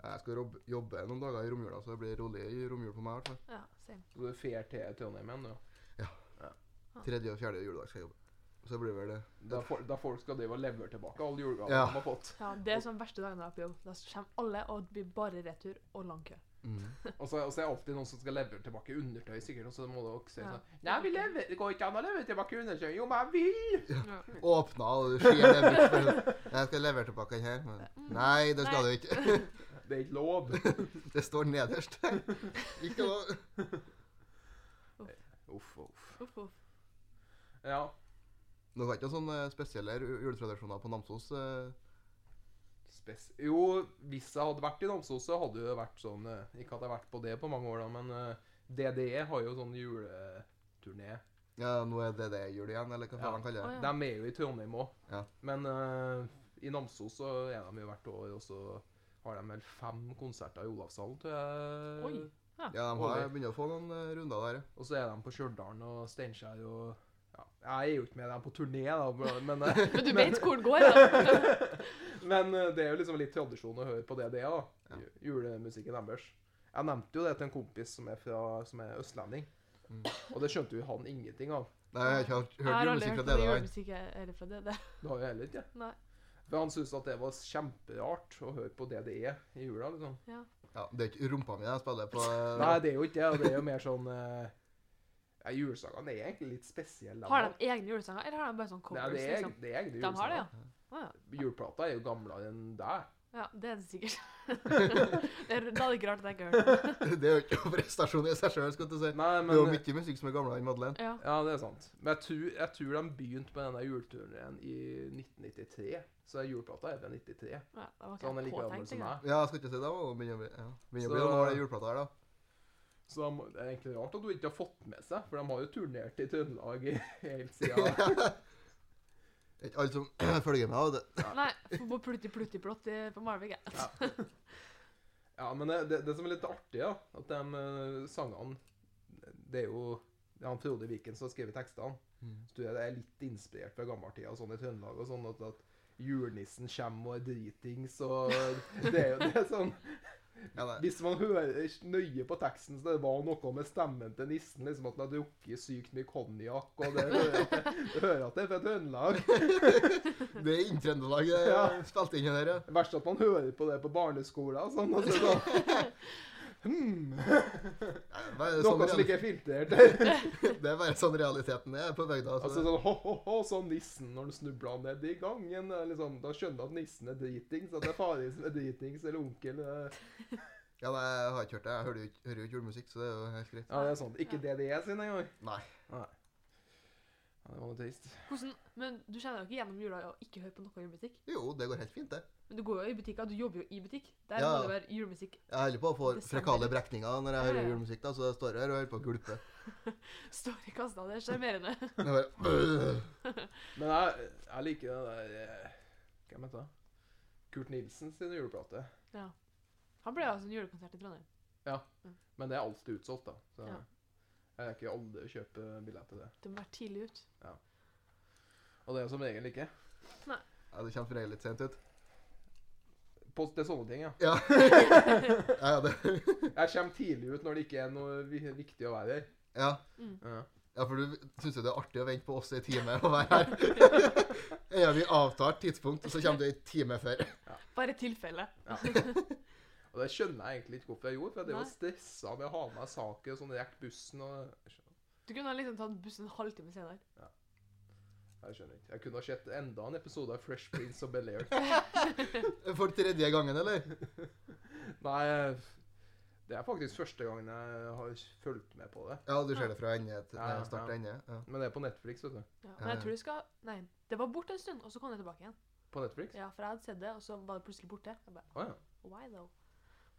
[SPEAKER 2] Jeg skal jobbe, jobbe noen dager i romjula, så det blir rolig i romjul på meg i hvert fall.
[SPEAKER 3] ja, same.
[SPEAKER 1] Så du fer til Trondheim igjen, du?
[SPEAKER 2] Tredje og fjerde juledag skal jeg jobbe. Så blir vel det
[SPEAKER 1] Da, for, da folk skal drive og levere tilbake alle julegavene
[SPEAKER 2] Ja.
[SPEAKER 1] de har fått.
[SPEAKER 3] Ja, det er sånn verste dagen jeg er på jobb. Da kommer alle, og det blir bare retur og lang kø.
[SPEAKER 1] Og så, og så er det alltid noen som skal levere tilbake undertøy, sikkert. Og så må dere si
[SPEAKER 3] Ja.
[SPEAKER 1] sånn Nei, vi lever, det går ikke an å levere tilbake undertøy. Jo, men jeg vil!
[SPEAKER 2] Åpna, og du skjer det bort. Jeg skal levere tilbake den her.
[SPEAKER 3] Mm.
[SPEAKER 2] Men nei, det skal du ikke.
[SPEAKER 1] Det er ikke lov.
[SPEAKER 2] Det står nederst. Ikke lov.
[SPEAKER 1] Uff, uff.
[SPEAKER 3] Uff, uff.
[SPEAKER 1] Ja.
[SPEAKER 2] Dere har ikke noen sånne spesielle ju- juletradisjoner på Namsos? eh?
[SPEAKER 1] Spes jo, hvis jeg hadde vært i Namsos, så hadde det vært sånn eh, Ikke at jeg har vært på det på mange år, da, men eh, DDE har jo sånn juleturné.
[SPEAKER 2] Ja, nå er det det jul igjen, eller hva
[SPEAKER 1] Ja.
[SPEAKER 2] faen de kaller det.
[SPEAKER 3] Å, ja.
[SPEAKER 1] De er jo i Trondheim òg,
[SPEAKER 2] Ja.
[SPEAKER 1] men eh, i Namsos så er de jo hvert år, og så har de vel fem konserter i Olavshallen, tror jeg.
[SPEAKER 3] Oi.
[SPEAKER 2] Ja, de har begynt å få noen eh, runder der. ja.
[SPEAKER 1] Og så er de på Stjørdal og Steinkjer og ja, Jeg er jo ikke med dem på turné, da, bro, men, eh,
[SPEAKER 3] Men du vet hvor den går, da.
[SPEAKER 1] men eh, det er jo liksom litt tradisjon å høre på det det er, da.
[SPEAKER 2] Ja.
[SPEAKER 1] Ju- Julemusikken deres. Jeg nevnte jo det til en kompis som er, fra, som er østlending,
[SPEAKER 2] Mm.
[SPEAKER 1] og det skjønte jo han ingenting av.
[SPEAKER 2] Nei, jeg har ikke hørt-
[SPEAKER 3] Jeg har
[SPEAKER 2] hørt
[SPEAKER 3] aldri
[SPEAKER 2] julemusikk fra
[SPEAKER 3] hørt noe
[SPEAKER 2] dere. nei.
[SPEAKER 3] julemusikk eller fra DDE.
[SPEAKER 1] Det har jeg heller ikke.
[SPEAKER 3] Nei.
[SPEAKER 1] For han syntes at det var kjemperart å høre på det det er i jula. liksom.
[SPEAKER 2] Ja, det er ikke rumpa mi jeg spiller på. eh,
[SPEAKER 1] Nei, det er jo ikke det. og Det er jo mer sånn eh, ja, Julesangene er egentlig litt spesielle. de
[SPEAKER 3] Har
[SPEAKER 1] da.
[SPEAKER 3] de egne julesanger, eller har de bare sånn
[SPEAKER 1] Nei,
[SPEAKER 3] covers?
[SPEAKER 1] det er,
[SPEAKER 3] liksom?
[SPEAKER 1] det er egentlig
[SPEAKER 3] De har det, ja.
[SPEAKER 1] julesanger.
[SPEAKER 3] Å, ja.
[SPEAKER 1] Juleplata er jo gamlere enn deg.
[SPEAKER 3] Ja, det er det sikkert. det er, da er det ikke rart at jeg ikke har hørt det.
[SPEAKER 2] Det er jo ikke noen prestasjon i seg sjøl, skulle jeg til å si.
[SPEAKER 1] Nei,
[SPEAKER 2] Det er jo
[SPEAKER 1] men eh,
[SPEAKER 2] mye musikk som er gamlere enn Madeleine.
[SPEAKER 3] Ja.
[SPEAKER 1] Ja, det er sant. Men jeg tror, jeg tror de begynte med denne juleturneen i 1993. Så den juleplata er fra 93.
[SPEAKER 3] Ja, da
[SPEAKER 1] Så han Sånn er
[SPEAKER 3] var
[SPEAKER 1] like gammel
[SPEAKER 3] ikke påtenkt
[SPEAKER 1] som
[SPEAKER 3] engang.
[SPEAKER 1] meg.
[SPEAKER 2] Ja, jeg skal ikke si det. men Begynner å bli ja. Begynner å bli
[SPEAKER 1] Så-
[SPEAKER 2] noen år, den juleplata her, da.
[SPEAKER 1] Så da må- det er egentlig rart at du ikke har fått med seg, for de har jo turnert i Trøndelag i- helt siden
[SPEAKER 2] Det er ikke alle som følger med. vet du.
[SPEAKER 3] Nei, for på Plutti Plutti Plott i- på Malvik, jeg.
[SPEAKER 1] Ja, men det, det, det som er litt artig, da, at de eh, sangene Det er jo det er han Frode Viken som har skrevet tekstene.
[SPEAKER 2] Mm.
[SPEAKER 1] Så tror jeg det er litt inspirert fra gammeltida og sånn i Trøndelag og sånn at, at julenissen kommer og er dritings og Det er jo det er sånn
[SPEAKER 2] Ja, nei.
[SPEAKER 1] Hvis man hører nøye på teksten, så det var noe med stemmen til nissen. liksom At han har drukket sykt mye konjakk. Og det hører at det, det hører at det er fra Trøndelag.
[SPEAKER 2] Det er Inn-Trøndelag det er
[SPEAKER 1] Ja.
[SPEAKER 2] spilt inn i der, ja.
[SPEAKER 1] Det verste er at man hører på det på barneskolen. og Sånn, og så er det sånn.
[SPEAKER 2] Det er bare
[SPEAKER 1] Noe
[SPEAKER 2] sånn
[SPEAKER 1] som
[SPEAKER 2] reali-
[SPEAKER 1] ikke er filtrert.
[SPEAKER 2] det er bare sånn realiteten er på bygda.
[SPEAKER 1] Altså
[SPEAKER 2] Altså.
[SPEAKER 1] sånn ho-ho-ho, sånn nissen når han snubla ned i gangen. eh, Liksom, da skjønner du at nissen er dritings, at det er faren som er dritings, eller onkel eh.
[SPEAKER 2] Ja, nei, jeg har ikke hørt det. Jeg hører jo ikke, hører jo ikke julemusikk, så det er jo helt greit.
[SPEAKER 1] Ja, det er sånn. Ikke DDE sin engang.
[SPEAKER 2] Nei.
[SPEAKER 1] Nei. Ja, det var noe trist.
[SPEAKER 3] Hvordan, men du kjenner jo ikke gjennom jula og ikke hører på noe julemusikk.
[SPEAKER 2] Jo, det går helt fint, det.
[SPEAKER 3] Men du går jo i butikker, du jobber jo i butikk. Der
[SPEAKER 2] Ja.
[SPEAKER 3] må det være julemusikk.
[SPEAKER 2] Jeg holder på å få
[SPEAKER 3] Det stemmer.
[SPEAKER 2] frekale brekninger når jeg
[SPEAKER 3] Ja,
[SPEAKER 2] hører
[SPEAKER 3] ja.
[SPEAKER 2] julemusikk, da, så jeg står her og hører på å gulpe.
[SPEAKER 3] Står i kassa, det er sjarmerende.
[SPEAKER 2] Det er bare,
[SPEAKER 1] Men jeg, jeg liker den der eh, Hvem heter det? Kurt Nilsen sin juleplate.
[SPEAKER 3] Han ble jo altså en julekonsert i Trondheim.
[SPEAKER 1] Men det er alltid utsolgt, da. Så
[SPEAKER 3] Ja.
[SPEAKER 1] jeg rekker aldri å kjøpe billett til det.
[SPEAKER 3] Du må være tidlig ut.
[SPEAKER 1] Og det er jo som regel ikke.
[SPEAKER 2] ja, det kommer for deg litt sent ut.
[SPEAKER 1] På, det er sånne ting, ja.
[SPEAKER 2] Ja. ja, det.
[SPEAKER 1] Jeg kommer tidlig ut når det ikke er noe vi- viktig å være her.
[SPEAKER 2] ja.
[SPEAKER 3] Mm.
[SPEAKER 1] Ja.
[SPEAKER 2] Ja, for du syns jo det er artig å vente på oss i en time og være her. Ja, vi avtar tidspunkt, og så kommer du en time før.
[SPEAKER 3] Bare tilfelle.
[SPEAKER 1] Ja. Og det skjønner jeg egentlig ikke hvorfor jeg gjorde, for jeg var
[SPEAKER 3] Nei.
[SPEAKER 1] stressa med å ha med saker og sånn, rekke bussen og jeg skjønner-
[SPEAKER 3] Du kunne ha liksom tatt bussen en halvtime senere.
[SPEAKER 1] Jeg skjønner ikke. Jeg kunne ha sett enda en episode av Fresh Prince og Bel-Air.
[SPEAKER 2] For tredje gangen, eller?
[SPEAKER 1] Nei, det er faktisk første gangen jeg har fulgt med på det.
[SPEAKER 2] Ja, du ser det fra ende til
[SPEAKER 1] Ja,
[SPEAKER 2] ja, start
[SPEAKER 1] ja.
[SPEAKER 2] til ende. Ja.
[SPEAKER 1] Men det er på Netflix, vet du.
[SPEAKER 3] Ja,
[SPEAKER 2] Ja,
[SPEAKER 3] men jeg
[SPEAKER 2] ja.
[SPEAKER 3] tror det skal Nei, det var borte en stund, og så kom det tilbake igjen.
[SPEAKER 1] På Netflix?
[SPEAKER 3] Ja, For jeg hadde sett det, og så var det plutselig borte. Jeg bare,
[SPEAKER 1] Å ja.
[SPEAKER 3] why though?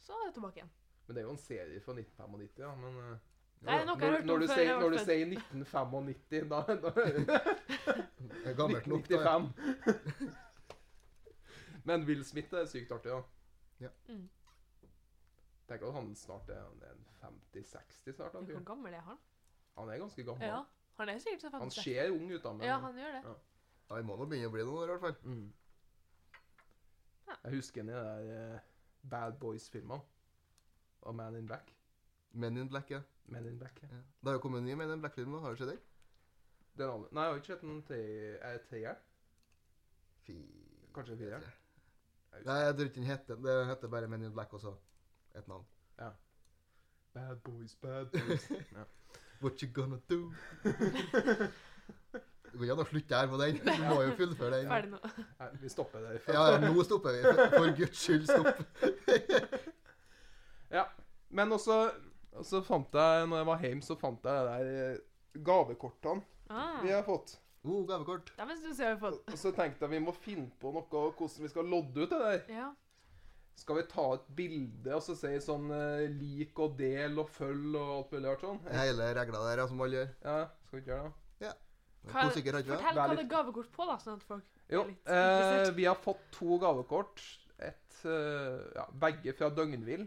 [SPEAKER 3] Så er det tilbake igjen.
[SPEAKER 1] Men det er jo en serie fra 1995, ja. Men eh,
[SPEAKER 3] Det er noe jeg har
[SPEAKER 1] når,
[SPEAKER 3] hørt
[SPEAKER 1] når,
[SPEAKER 3] om
[SPEAKER 1] du
[SPEAKER 3] før.
[SPEAKER 1] sier,
[SPEAKER 3] jeg har
[SPEAKER 1] når du
[SPEAKER 3] vært
[SPEAKER 1] sier 1995, da, da
[SPEAKER 2] Det er Gammelt nok, da. ja.
[SPEAKER 1] 1995. Men Will Smith er sykt artig, da.
[SPEAKER 2] Ja.
[SPEAKER 3] Mm.
[SPEAKER 1] Tenk at han snart er han er en 50-60 snart.
[SPEAKER 3] født.
[SPEAKER 1] Han,
[SPEAKER 3] Men Hvor
[SPEAKER 1] tror jeg.
[SPEAKER 3] gammel er han?
[SPEAKER 1] han er ganske gammel.
[SPEAKER 3] Ja, Han er sikkert sånn
[SPEAKER 1] Han
[SPEAKER 3] 56.
[SPEAKER 1] ser ung ut, da. Men,
[SPEAKER 3] Ja, han gjør det.
[SPEAKER 2] Ja, Vi må nå begynne å bli noen år, i hvert fall.
[SPEAKER 1] Mm.
[SPEAKER 3] Ja.
[SPEAKER 1] Jeg husker en i de der eh, Bad Boys-filmene. Og Man in Black.
[SPEAKER 2] Men in black, ja.
[SPEAKER 1] Men in Black, ja.
[SPEAKER 2] ja. Det har jo kommet en ny Men in black-film nå, har du sett den?
[SPEAKER 1] Den andre. Nei, jeg har ikke sett den til Er det treeren?
[SPEAKER 2] Fy
[SPEAKER 1] Kanskje fireren?
[SPEAKER 2] Nei, jeg tror ikke den heter Det heter bare Men in black også. Et navn.
[SPEAKER 1] Bad Boys, Bad Boys.
[SPEAKER 2] What you gonna do? Det går ikke an å slutte her på den. Du må jo fullføre den.
[SPEAKER 3] Ferdig nå.
[SPEAKER 1] Nei, vi stopper der.
[SPEAKER 2] Ja, ja, nå stopper vi. For- For guds skyld, stopp.
[SPEAKER 1] Men også, også fant jeg, når jeg var hjemme, så fant jeg det der eh, gavekortene
[SPEAKER 3] Ah,
[SPEAKER 1] vi har fått.
[SPEAKER 2] Oh, gavekort.
[SPEAKER 3] det er mens du ser vi har fått.
[SPEAKER 1] Og så tenkte jeg vi må finne på noe hvordan vi skal lodde ut det der.
[SPEAKER 3] Ja.
[SPEAKER 1] Skal vi ta et bilde og så si sånn eh, lik og del og følg og alt mulig rart sånn?
[SPEAKER 2] Hele regla der, ja, som alle gjør.
[SPEAKER 1] Ja, skal vi ikke gjøre det?
[SPEAKER 3] Hva-
[SPEAKER 2] Posikker, har ikke det?
[SPEAKER 3] Fortell hva
[SPEAKER 1] Vær litt-
[SPEAKER 3] det er gavekort på, da, sånn at folk
[SPEAKER 1] Jo,
[SPEAKER 3] Jeg er litt
[SPEAKER 1] eh,
[SPEAKER 3] interessert.
[SPEAKER 1] vi har fått to gavekort. Et, eh, ja, begge fra Døgnvill.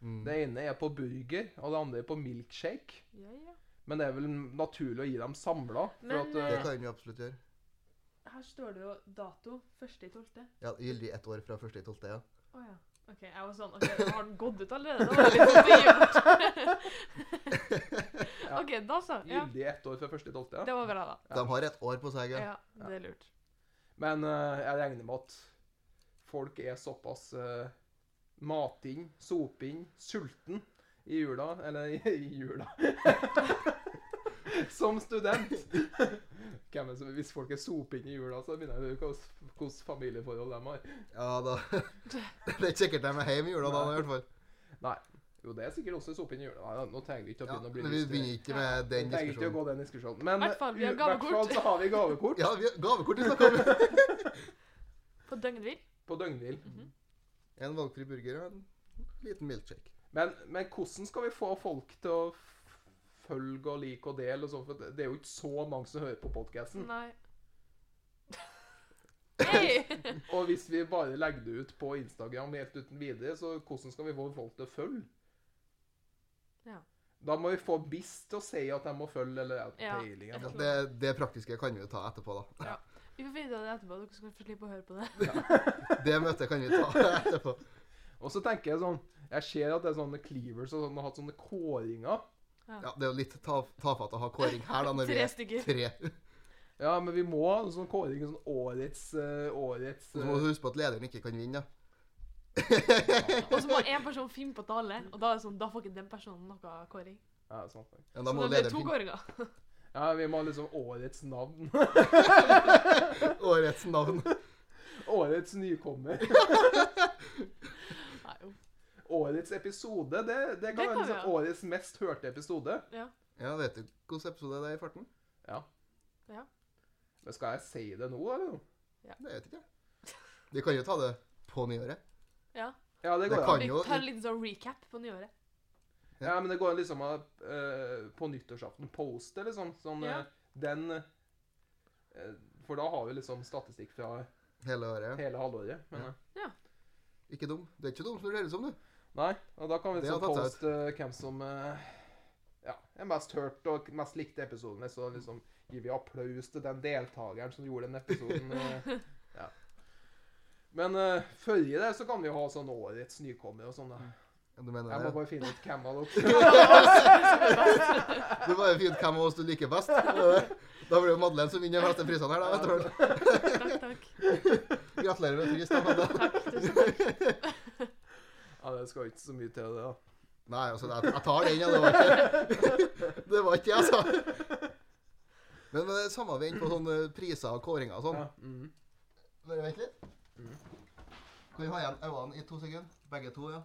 [SPEAKER 2] Mm.
[SPEAKER 1] Det ene er på burger, og det andre er på milkshake.
[SPEAKER 3] Ja, ja.
[SPEAKER 1] Men det er vel naturlig å gi dem samla. For
[SPEAKER 3] Men,
[SPEAKER 1] at,
[SPEAKER 2] Det
[SPEAKER 1] eh,
[SPEAKER 3] eh,
[SPEAKER 2] kan vi absolutt gjøre.
[SPEAKER 3] Her står det jo dato 1.12.
[SPEAKER 2] Ja, Gyldig ett år fra 1.12., ja.
[SPEAKER 3] Å ja. OK, jeg var sånn OK, har den gått ut allerede? Da var det litt stivt.
[SPEAKER 1] Ja.
[SPEAKER 3] OK, da så. Ja.
[SPEAKER 1] gyldig ett år fra 1.12. Ja.
[SPEAKER 3] Det var bra, da.
[SPEAKER 2] De har et år på seg. Ja.
[SPEAKER 3] Ja, det er lurt.
[SPEAKER 1] Men eh, jeg regner med at folk er såpass eh, mating, soping, sulten i jula Eller i, i jula Som student. Hvem er det som, hvis folk er soping i jula, så begynner jeg å lure på hvilke familieforhold de har.
[SPEAKER 2] ja da. Det er ikke sikkert de er hjemme i jula da, i hvert fall.
[SPEAKER 1] Jo, det er sikkert også soping i jula. Nei, nå trenger vi ikke å
[SPEAKER 2] Ja,
[SPEAKER 1] begynne å bli
[SPEAKER 2] men vi begynner ikke
[SPEAKER 1] Vi
[SPEAKER 2] med den
[SPEAKER 1] trenger eh, ikke å
[SPEAKER 2] diskusjonen.
[SPEAKER 1] gå den diskusjonen. Men
[SPEAKER 3] Hvert fall, vi har
[SPEAKER 1] u- hvert
[SPEAKER 3] gavekort.
[SPEAKER 1] fall så har vi gavekort
[SPEAKER 2] Ja, vi har gavekort vi snakker om.
[SPEAKER 3] På døgnhvil.
[SPEAKER 1] på døgnhvil.
[SPEAKER 2] Mhm.
[SPEAKER 3] Mhm.
[SPEAKER 2] En valgfri burger og en liten milkshake.
[SPEAKER 1] Men, men hvordan skal vi få folk til å f- følge og like og dele og sånn? For det- det er jo ikke så mange som hører på podkasten.
[SPEAKER 3] Mm-hmm. Nei. Hei!
[SPEAKER 1] Og hvis vi bare legger det ut på Instagram helt uten videre, så hvordan skal vi få folk til å følge?
[SPEAKER 3] Ja.
[SPEAKER 1] Da må vi få BIS til å si at de må følge, eller at
[SPEAKER 3] Ja.
[SPEAKER 1] peiling eller
[SPEAKER 2] Ja,
[SPEAKER 1] noe.
[SPEAKER 2] det, det praktiske kan vi jo ta etterpå, da.
[SPEAKER 3] Vi får finne ut av det etterpå. Dere skal få slippe å høre på det.
[SPEAKER 2] Det møtet kan vi ta etterpå.
[SPEAKER 1] Og så tenker jeg sånn Jeg ser at det er sånne cleavers og sånn, har hatt sånne kåringer.
[SPEAKER 2] Ja, Det er jo litt ta, tafatt å ha kåring her, da, når vi
[SPEAKER 3] Tre
[SPEAKER 2] er
[SPEAKER 3] stykker.
[SPEAKER 2] tre.
[SPEAKER 1] Ja, men vi må ha en sånn kåring, sånn årets eh, Årets
[SPEAKER 2] Så må du huske på at lederen ikke kan vinne, da.
[SPEAKER 1] eh,
[SPEAKER 3] Og så må én person finne på tale, og da er det sånn, da får ikke den personen noe kåring.
[SPEAKER 1] Ja, sant. nok.
[SPEAKER 2] Men
[SPEAKER 3] Så
[SPEAKER 2] da må
[SPEAKER 3] det blir
[SPEAKER 2] lederen
[SPEAKER 3] to
[SPEAKER 2] finne
[SPEAKER 3] kåringer.
[SPEAKER 1] Ja, vi må ha liksom årets navn.
[SPEAKER 2] årets navn.
[SPEAKER 1] Årets nykommer.
[SPEAKER 3] Nei, jo.
[SPEAKER 1] Årets episode, det, det kan
[SPEAKER 3] kan
[SPEAKER 1] være
[SPEAKER 3] vi
[SPEAKER 1] liksom
[SPEAKER 3] ha.
[SPEAKER 1] årets mest hørte episode.
[SPEAKER 2] Ja, vet du hvilken episode det er i farten?
[SPEAKER 1] Men skal jeg si det nå, eller?
[SPEAKER 2] Det vet ikke jeg. Vi kan jo ta det på nyåret.
[SPEAKER 3] Ja.
[SPEAKER 1] Ja, det
[SPEAKER 2] Det
[SPEAKER 1] går an.
[SPEAKER 2] kan
[SPEAKER 3] Vi
[SPEAKER 2] jo
[SPEAKER 3] tar en liten sånn recap på nyåret.
[SPEAKER 1] Ja, men det går an liksom å eh, på nyttårsaften poste, liksom. Sånn
[SPEAKER 3] Ja.
[SPEAKER 1] eh, den eh, For da har vi liksom statistikk fra
[SPEAKER 2] hele året.
[SPEAKER 1] hele halvåret. Men,
[SPEAKER 2] Ja.
[SPEAKER 1] eh,
[SPEAKER 2] Ikke dum. Du er ikke dum som du ser ut som, du.
[SPEAKER 1] Nei, og da kan vi
[SPEAKER 2] Det har
[SPEAKER 1] liksom
[SPEAKER 2] tatt seg
[SPEAKER 1] poste eh, hvem som eh, ja, er mest hørt og mest likte episodene. Så liksom gir vi applaus til den deltakeren som gjorde den episoden. eh, ja. Men eh, før i det så kan vi jo ha sånn årets nykommer og sånn. da.
[SPEAKER 2] Ja, Du mener
[SPEAKER 1] Jeg må
[SPEAKER 2] Mm, det?
[SPEAKER 1] bare finne ut hvem av dere
[SPEAKER 2] Du bare finner ut hvem av oss du liker best. Da blir det jo Madeleine som vinner flest av prisene her, da. vet du.
[SPEAKER 3] Takk, takk.
[SPEAKER 2] Gratulerer med pris, da. men-
[SPEAKER 3] Takk, tusen takk.
[SPEAKER 1] Ja, det skal ikke så mye til det, da.
[SPEAKER 2] Nei, altså, jeg, jeg tar den, ja. Det var ikke Det var ikke jeg, altså. Men eh, samme vi er inne på sånne priser og kåringer og sånn.
[SPEAKER 1] Ja, mm.
[SPEAKER 2] Bare vent litt. Kan vi ha igjen øynene i to sekunder? Begge to, ja.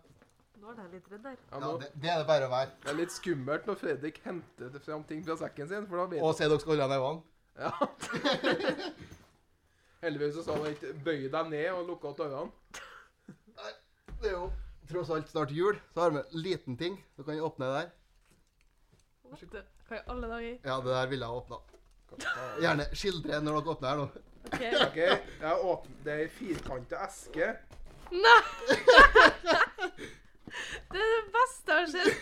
[SPEAKER 3] Nå er jeg litt redd der.
[SPEAKER 1] ja,
[SPEAKER 2] ja
[SPEAKER 1] nå,
[SPEAKER 2] det, det er det bare å være.
[SPEAKER 1] det er litt skummelt når Fredrik henter det fram ting fra sekken sin, for da vet
[SPEAKER 2] Og se dere skal holde igjen øynene.
[SPEAKER 1] Ja. Heldigvis så sa han ikke 'bøy deg ned' og lukka opp dørene.
[SPEAKER 2] Det er jo tross alt snart jul, så har vi en liten ting. Du kan åpne der.
[SPEAKER 3] What the- Hva i alle dager?
[SPEAKER 2] Ja, det der ville jeg åpna.
[SPEAKER 1] Ok,
[SPEAKER 2] Gjerne skildre når dere åpner her nå.
[SPEAKER 3] Ok.
[SPEAKER 1] jeg åpner, Det er ei firkanta eske.
[SPEAKER 3] Nei! Det er det beste jeg har sett.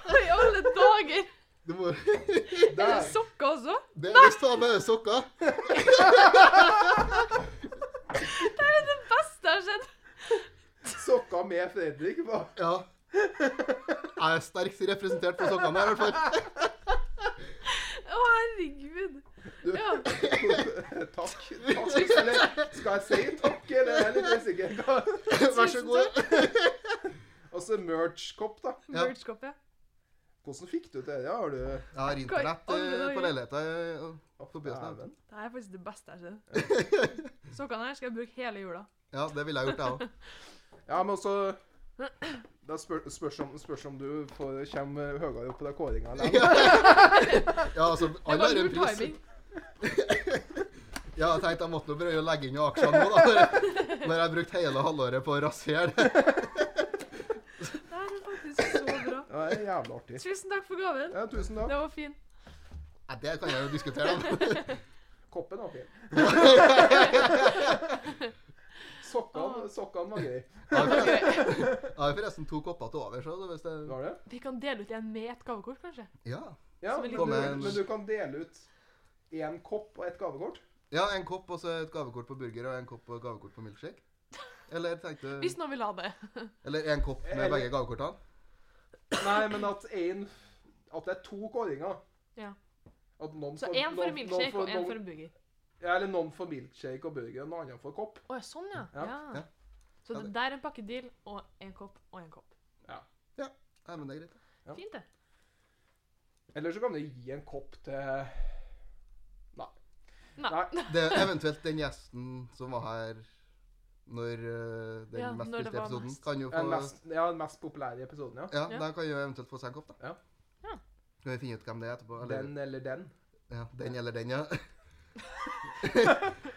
[SPEAKER 3] Hva i alle dager?
[SPEAKER 2] Du må
[SPEAKER 3] Er det
[SPEAKER 1] Der!
[SPEAKER 3] sokker også?
[SPEAKER 2] Det er visst ta med sokker.
[SPEAKER 3] Det er det beste jeg har sett.
[SPEAKER 1] Sokka med Fredrik. hva?
[SPEAKER 2] Ja. Jeg er sterkt representert på sokkene her, i hvert fall.
[SPEAKER 3] Å, herregud.
[SPEAKER 1] Du,
[SPEAKER 3] Ja.
[SPEAKER 1] takk. takk. Eller skal jeg si takk, eller jeg er litt usikker. Hva-
[SPEAKER 2] Vær så god.
[SPEAKER 1] Og så merch-kopp, da.
[SPEAKER 2] Ja.
[SPEAKER 3] Merch-kopp, ja.
[SPEAKER 1] Hvordan fikk du til det? Har du
[SPEAKER 2] Jeg har internett
[SPEAKER 3] Oi, alle
[SPEAKER 2] eh, på
[SPEAKER 3] dager.
[SPEAKER 2] leiligheta. På bussen,
[SPEAKER 1] Dæven.
[SPEAKER 3] Det er faktisk det beste jeg har sett. Sokkene her skal jeg bruke hele jula.
[SPEAKER 2] Ja, det ville jeg gjort, jeg òg.
[SPEAKER 1] Ja, men også Det spør, spørs, om, spørs om du får, kommer høyere opp på den kåringa. eller?
[SPEAKER 2] Ja, altså,
[SPEAKER 3] Det
[SPEAKER 2] alle
[SPEAKER 3] var
[SPEAKER 2] har en
[SPEAKER 3] lur
[SPEAKER 2] pris.
[SPEAKER 3] timing.
[SPEAKER 2] Ja, jeg tenkte jeg måtte nå prøve å legge inn i aksjene nå, da. Når jeg har brukt hele halvåret på å rasere det.
[SPEAKER 3] Det er faktisk så bra.
[SPEAKER 1] Ja, det er jævlig artig.
[SPEAKER 3] Tusen takk for gaven.
[SPEAKER 1] Ja, tusen
[SPEAKER 3] Det
[SPEAKER 1] takk.
[SPEAKER 3] var fin.
[SPEAKER 2] Nei, det kan jeg jo diskutere, da.
[SPEAKER 1] Koppen var fin. Sokkene sokkene var grei.
[SPEAKER 2] Jeg har-
[SPEAKER 3] Ok.
[SPEAKER 2] jeg har forresten to kopper til over, så hvis det
[SPEAKER 1] Var det?
[SPEAKER 3] Vi kan dele ut igjen med et gavekort, kanskje?
[SPEAKER 2] Ja.
[SPEAKER 1] Ja,
[SPEAKER 3] Så vi
[SPEAKER 1] men du,
[SPEAKER 3] liker-
[SPEAKER 1] men du kan dele ut én kopp og ett gavekort.
[SPEAKER 2] ja, en kopp og så et gavekort på burger og en kopp og gavekort på milkshake. Eller tenkte
[SPEAKER 3] Hvis noen vil ha det.
[SPEAKER 2] Eller en kopp med begge gavekortene.
[SPEAKER 1] Nei, men at én At det er to kåringer.
[SPEAKER 3] Ja.
[SPEAKER 1] At noen
[SPEAKER 3] Så
[SPEAKER 1] får-
[SPEAKER 3] én for
[SPEAKER 1] noen- noen
[SPEAKER 3] en milkshake
[SPEAKER 1] får-
[SPEAKER 3] og én
[SPEAKER 1] noen-
[SPEAKER 3] for en burger.
[SPEAKER 1] Ja, eller noen for milkshake og burger, og noen andre for kopp.
[SPEAKER 3] Å ja, sånn, ja.
[SPEAKER 1] Ja,
[SPEAKER 3] ja.
[SPEAKER 2] ja.
[SPEAKER 3] Så
[SPEAKER 2] Ja,
[SPEAKER 3] det
[SPEAKER 2] det-
[SPEAKER 3] der er en pakke deal og en kopp og en kopp.
[SPEAKER 2] Nei, men det er greit.
[SPEAKER 1] Ja.
[SPEAKER 3] Fint, det.
[SPEAKER 1] Eller så kan du gi en kopp til
[SPEAKER 3] Nei.
[SPEAKER 1] Nei.
[SPEAKER 2] Det er eventuelt den gjesten som var her når eh, den
[SPEAKER 3] Ja,
[SPEAKER 2] mest
[SPEAKER 3] når det
[SPEAKER 2] spilte
[SPEAKER 3] var
[SPEAKER 2] episoden,
[SPEAKER 3] mest.
[SPEAKER 2] kan jo få
[SPEAKER 1] Den mest, ja, den mest populære episoden, ja.
[SPEAKER 2] Ja,
[SPEAKER 3] Ja.
[SPEAKER 2] da kan jo eventuelt få seg en kopp, da.
[SPEAKER 1] Ja.
[SPEAKER 3] Ja.
[SPEAKER 2] Skal vi finne ut hvem det er etterpå? Eller, den.
[SPEAKER 1] Den eller den.
[SPEAKER 2] Ja, den eller den, ja.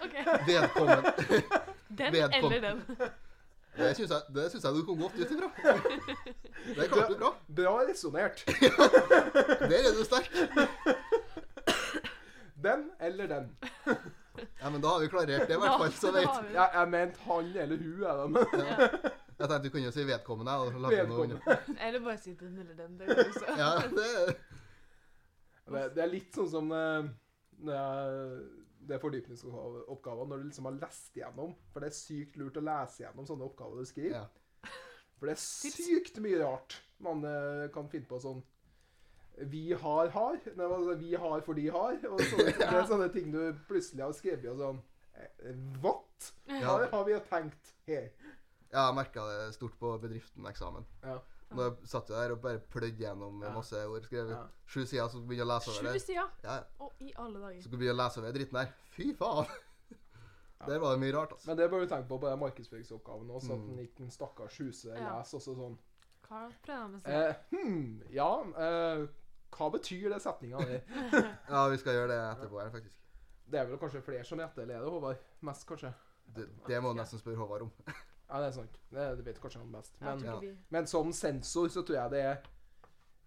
[SPEAKER 3] Ok.
[SPEAKER 2] Vedkommen.
[SPEAKER 3] Den
[SPEAKER 2] Vedkom-
[SPEAKER 3] eller den.
[SPEAKER 2] Det syns jeg, det syns jeg du kom godt ut ifra. Det klarte du bra.
[SPEAKER 1] Bra resonnert.
[SPEAKER 2] Der er du sterk.
[SPEAKER 1] Den eller den.
[SPEAKER 2] Ja, men da har vi klarert det, i hvert fall. Så
[SPEAKER 3] Da- da
[SPEAKER 2] vet.
[SPEAKER 3] har vi det.
[SPEAKER 1] Jeg, jeg mente han eller hun, jeg da, men
[SPEAKER 3] Ja.
[SPEAKER 2] Jeg tenkte du kunne jo si vedkommende. Og så lage noe
[SPEAKER 1] Vedkommende.
[SPEAKER 2] under.
[SPEAKER 3] Eller bare si den eller den. Det går også.
[SPEAKER 2] Ja, det er
[SPEAKER 1] Det, det er litt sånn som eh, når jeg- det er fordypningsoppgaver når du liksom har lest gjennom. For det er sykt lurt å lese gjennom sånne oppgaver du skriver.
[SPEAKER 2] ja.
[SPEAKER 1] For det er sykt mye rart man eh, kan finne på sånn Vi har har. Nei, altså, vi har for de har. Og sånne, Det er sånne ting du plutselig har skrevet og sånn eh, What?
[SPEAKER 2] Ja.
[SPEAKER 1] Her har vi jo tenkt her.
[SPEAKER 2] Ja, jeg merka det stort på bedriften-eksamen.
[SPEAKER 1] Ja.
[SPEAKER 2] Når jeg satt jo der og bare plødde gjennom
[SPEAKER 1] Ja.
[SPEAKER 2] masse ord. Skrev
[SPEAKER 1] Ja.
[SPEAKER 2] sju sider, så begynte jeg å lese over
[SPEAKER 3] Sju
[SPEAKER 2] det.
[SPEAKER 3] sider.
[SPEAKER 2] Ja,
[SPEAKER 3] Å, i alle dager.
[SPEAKER 2] så skulle jeg begynne å lese over den dritten der. Fy faen! Der var det mye rart, altså.
[SPEAKER 1] Men det bør du tenke på på den markedsføringsoppgaven òg, så at
[SPEAKER 2] Mm.
[SPEAKER 1] den ikke en stakkars huse
[SPEAKER 3] Ja.
[SPEAKER 1] leser også sånn
[SPEAKER 3] Hva prøvde jeg med seg?
[SPEAKER 1] eh, Hm, ja eh, Hva betyr det setninga der?
[SPEAKER 2] Ja, vi skal gjøre det etterpå her, faktisk.
[SPEAKER 1] Det er vel kanskje flere som etterleder Håvard. Mest, kanskje.
[SPEAKER 2] Det, det må du nesten spørre Håvard om.
[SPEAKER 1] Ja, det er sant. Det, det vet kanskje han best.
[SPEAKER 3] Jeg
[SPEAKER 1] Men,
[SPEAKER 3] tror
[SPEAKER 2] ja.
[SPEAKER 3] ikke vi...
[SPEAKER 1] men som sensor så tror jeg det er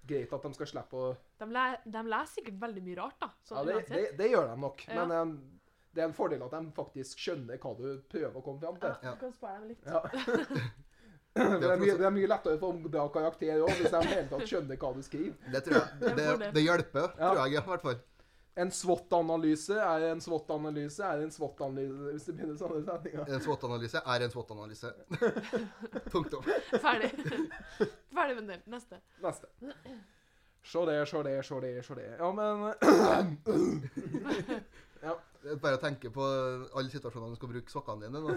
[SPEAKER 1] greit at de skal slippe å
[SPEAKER 3] de, le de leser sikkert veldig mye rart, da. Sånn
[SPEAKER 1] ja, det, det,
[SPEAKER 3] uansett.
[SPEAKER 1] det gjør de nok.
[SPEAKER 3] Ja.
[SPEAKER 1] Men em, det er en fordel at de faktisk skjønner hva du prøver å komme fram til.
[SPEAKER 3] Ja, du kan spare dem litt.
[SPEAKER 1] Ja. Men det, er mye, det er mye lettere for en bra karakter òg, hvis de i det hele tatt skjønner hva du skriver.
[SPEAKER 2] Det tror jeg Det,
[SPEAKER 3] det.
[SPEAKER 2] det hjelper,
[SPEAKER 1] Ja.
[SPEAKER 2] tror jeg, ja, i hvert fall.
[SPEAKER 1] En SWOT-analyse er en SWOT-analyse er en SWOT-analyse Hvis det begynner sånne setninger.
[SPEAKER 2] En SWOT-analyse er en SWOT-analyse. Punktum.
[SPEAKER 3] Ferdig. Ferdig med den. Neste.
[SPEAKER 1] Neste. Se det, se det, se det, se det. Ja, men Ja.
[SPEAKER 2] Det er Bare å tenke på alle situasjonene du skal bruke sokkene dine. nå.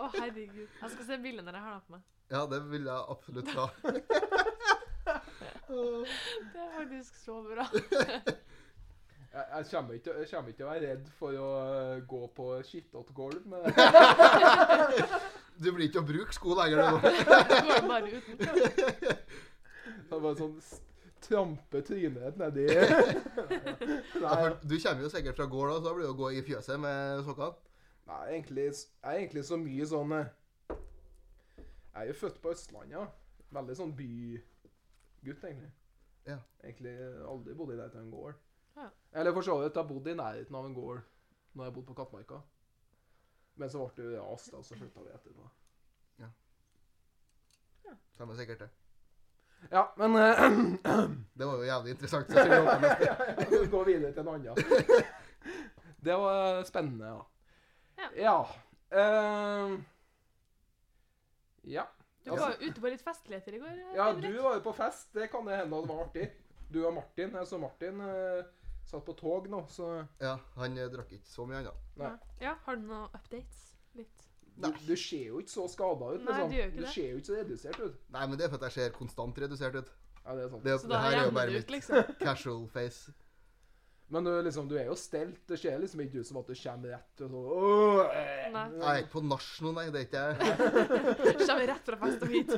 [SPEAKER 3] Å, herregud. Jeg skal se bildet når jeg har det på meg.
[SPEAKER 2] Ja, det vil jeg absolutt ha.
[SPEAKER 3] Det er faktisk så bra.
[SPEAKER 1] Jeg, jeg, kommer ikke, jeg kommer ikke til å være redd for å eh, gå på skittete gulv, men
[SPEAKER 2] Du blir ikke å bruke sko lenger. du nå.
[SPEAKER 3] Jeg går bare uten klær.
[SPEAKER 1] det er bare sånn s- trampe trynet nedi
[SPEAKER 2] Ja,
[SPEAKER 1] Nei,
[SPEAKER 2] for Du kommer jo sikkert fra gård, da, så da blir det å gå i fjøset med sokkene.
[SPEAKER 1] nei egentlig, s- jeg er egentlig så mye sånn eh, Jeg er jo født på Østlandet. Ja. Veldig sånn bygutt, egentlig.
[SPEAKER 2] Ja.
[SPEAKER 1] Egentlig aldri bodd i nærheten av en gård.
[SPEAKER 3] Ja.
[SPEAKER 1] Eller for så vidt, jeg bodde i nærheten av en gård når jeg bodde på Kattmarka. Men så ble det jo ras, da, og så flytta vi etterpå.
[SPEAKER 2] Stemmer sikkert det.
[SPEAKER 1] Ja, men eh,
[SPEAKER 2] Det var jo jævlig interessant. Så jeg tror vi håper
[SPEAKER 1] ja, ja, gå videre til en annen. Det var spennende, ja. Ja. ehm, ja.
[SPEAKER 3] Du var jo ute på litt festligheter i går.
[SPEAKER 1] ja,
[SPEAKER 3] Henrik.
[SPEAKER 1] du var jo på fest. Det kan det hende at det var artig. Du og Martin. Jeg så Martin eh, satt på tog nå, så
[SPEAKER 2] ja, han eh, drakk ikke så mye annet.
[SPEAKER 1] nei.
[SPEAKER 3] Ja, har du noen updates? Litt.
[SPEAKER 1] du, du ser jo ikke så skada ut.
[SPEAKER 3] Nei,
[SPEAKER 1] Liksom.
[SPEAKER 3] du gjør ikke det.
[SPEAKER 1] ser jo ikke så redusert ut.
[SPEAKER 2] Nei, men det er for at jeg ser konstant redusert ut.
[SPEAKER 1] Ja, det er sant.
[SPEAKER 2] Det,
[SPEAKER 3] Så
[SPEAKER 2] det
[SPEAKER 3] da
[SPEAKER 2] her er jo
[SPEAKER 3] gjemmer
[SPEAKER 2] bare
[SPEAKER 3] du
[SPEAKER 2] mitt
[SPEAKER 3] ut, liksom.
[SPEAKER 2] casual face.
[SPEAKER 1] Men du, liksom, du er jo stelt. Det ser liksom ikke ut som at du kommer rett og sånn «Åh, eh».
[SPEAKER 3] Nei.
[SPEAKER 2] Jeg er ikke på nach nå, nei. Det er ikke jeg.
[SPEAKER 3] Kommer rett fra fest og hit.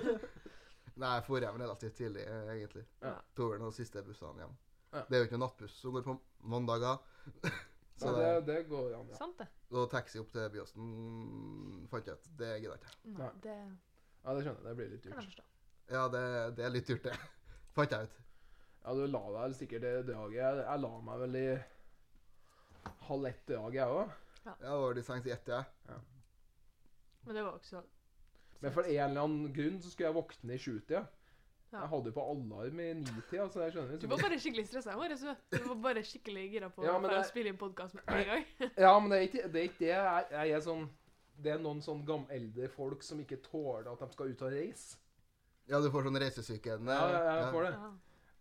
[SPEAKER 2] Nei, jeg dro hjem relativt tidlig, eh, egentlig.
[SPEAKER 1] Ja.
[SPEAKER 2] Tok vel noen siste bussene hjem.
[SPEAKER 1] Ja.
[SPEAKER 2] Det er jo ikke noen nattbuss som går på mandager. Så
[SPEAKER 1] Nei,
[SPEAKER 2] det,
[SPEAKER 1] det, det går an, ja.
[SPEAKER 3] Sant, det.
[SPEAKER 2] og taxi opp til Byåsen fant jeg ut. Det gidder jeg ikke.
[SPEAKER 3] Nei, det
[SPEAKER 1] ja. Det skjønner jeg. Det blir litt
[SPEAKER 3] kan
[SPEAKER 1] dyrt.
[SPEAKER 3] jeg forstå.
[SPEAKER 2] Ja, det, det er litt dyrt, det. Fant jeg ut.
[SPEAKER 1] Ja, du la deg sikkert i draget. Jeg, jeg la meg vel i halv ett-draget, jeg òg.
[SPEAKER 2] Jeg var i sengs i ett, jeg.
[SPEAKER 3] Men det var jo ikke så
[SPEAKER 1] Men for en eller annen grunn så skulle jeg våkne i sjutida.
[SPEAKER 3] Ja.
[SPEAKER 1] Jeg hadde jo på alarm i nitida, så jeg skjønner
[SPEAKER 3] Du
[SPEAKER 1] liksom
[SPEAKER 3] var bare skikkelig stressa i morges, du. Du var bare skikkelig gira på
[SPEAKER 1] Ja, men
[SPEAKER 3] for å
[SPEAKER 1] det-
[SPEAKER 3] spille inn podkast med en gang.
[SPEAKER 1] sånn. Ja, men det er ikke det. Er ikke det. Jeg, jeg er sånn Det er noen sånn gam- eldre folk som ikke tåler at de skal ut og reise.
[SPEAKER 2] Ja, du får sånn eh, reisesyke.
[SPEAKER 1] Ja, ja, jeg får det.
[SPEAKER 3] Ja.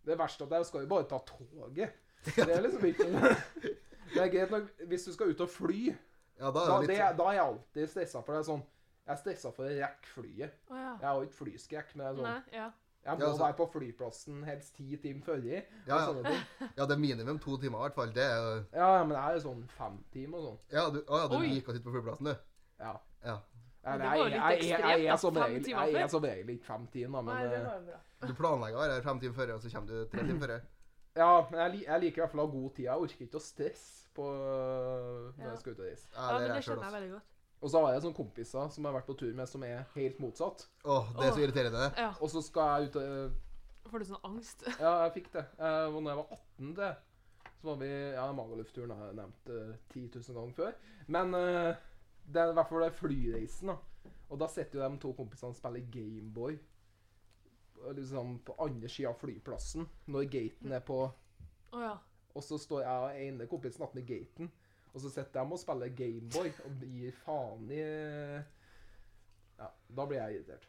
[SPEAKER 1] Det verste at jeg skal jo bare ta toget. Det er liksom ikke Det er greit nok hvis du skal ut og fly.
[SPEAKER 2] Ja, da
[SPEAKER 1] Da,
[SPEAKER 2] er det
[SPEAKER 1] det,
[SPEAKER 2] litt sånn.
[SPEAKER 1] da er jeg alltid stressa for det. er Sånn, jeg er stressa for å rekke flyet.
[SPEAKER 3] Å ja.
[SPEAKER 1] Jeg har jo ikke flyskrekk, men jeg er sånn
[SPEAKER 3] Nei, ja.
[SPEAKER 1] Jeg må
[SPEAKER 2] Ja, altså-
[SPEAKER 1] være på flyplassen helst ti timer før jeg.
[SPEAKER 2] Ja,
[SPEAKER 1] og
[SPEAKER 2] ja.
[SPEAKER 1] sånne ting.
[SPEAKER 2] Ja, det er minimum to timer, i hvert fall. Det er jo
[SPEAKER 1] ja, ja, men det er jo sånn fem timer og sånn.
[SPEAKER 2] Ja, du, å, ja, du
[SPEAKER 3] Oi.
[SPEAKER 2] liker å sitte på flyplassen, du.
[SPEAKER 1] Ja.
[SPEAKER 2] Ja.
[SPEAKER 1] Nei,
[SPEAKER 3] Men det
[SPEAKER 1] jeg,
[SPEAKER 3] var jo
[SPEAKER 1] jeg, jeg,
[SPEAKER 3] litt
[SPEAKER 1] jeg,
[SPEAKER 3] ekstremt, da,
[SPEAKER 1] er som
[SPEAKER 3] fem
[SPEAKER 1] regel,
[SPEAKER 3] timer
[SPEAKER 1] jeg
[SPEAKER 3] før.
[SPEAKER 1] er som regel ikke fem timer, da, men
[SPEAKER 3] Nei, det
[SPEAKER 1] eh,
[SPEAKER 3] var jo bra.
[SPEAKER 2] Du planlegger her fem timer før, og så kommer du tre timer før.
[SPEAKER 1] ja, men jeg, li- jeg liker i hvert fall å ha god tid. Jeg orker ikke å stresse på øh, når
[SPEAKER 3] Ja.
[SPEAKER 1] jeg skal ut og reise.
[SPEAKER 2] Ja,
[SPEAKER 3] Ja,
[SPEAKER 2] det er
[SPEAKER 3] men det
[SPEAKER 2] jeg selv
[SPEAKER 3] skjønner jeg
[SPEAKER 2] også.
[SPEAKER 3] veldig godt.
[SPEAKER 1] Og så har jeg sånne kompiser som jeg har vært på tur med, som er helt motsatt.
[SPEAKER 2] Åh, det er så
[SPEAKER 3] Åh.
[SPEAKER 2] irriterende. det.
[SPEAKER 3] Ja.
[SPEAKER 1] Og så skal jeg ut og
[SPEAKER 3] Får du sånn angst?
[SPEAKER 1] Ja, jeg fikk det. Eh, Og når jeg var 18, det, så var vi Ja, Magaluf-turen har jeg nevnt eh, 10 000 ganger før. Men eh, det er i hvert fall det flyreisen, da. Og da sitter jo de to kompisene og spiller Gameboy og liksom på andre sida av flyplassen når gaten er på.
[SPEAKER 3] Å ja.
[SPEAKER 1] Og så står jeg og ene kompisen attmed gaten, og så sitter de og spiller Gameboy og gir faen i Ja, da blir jeg irritert.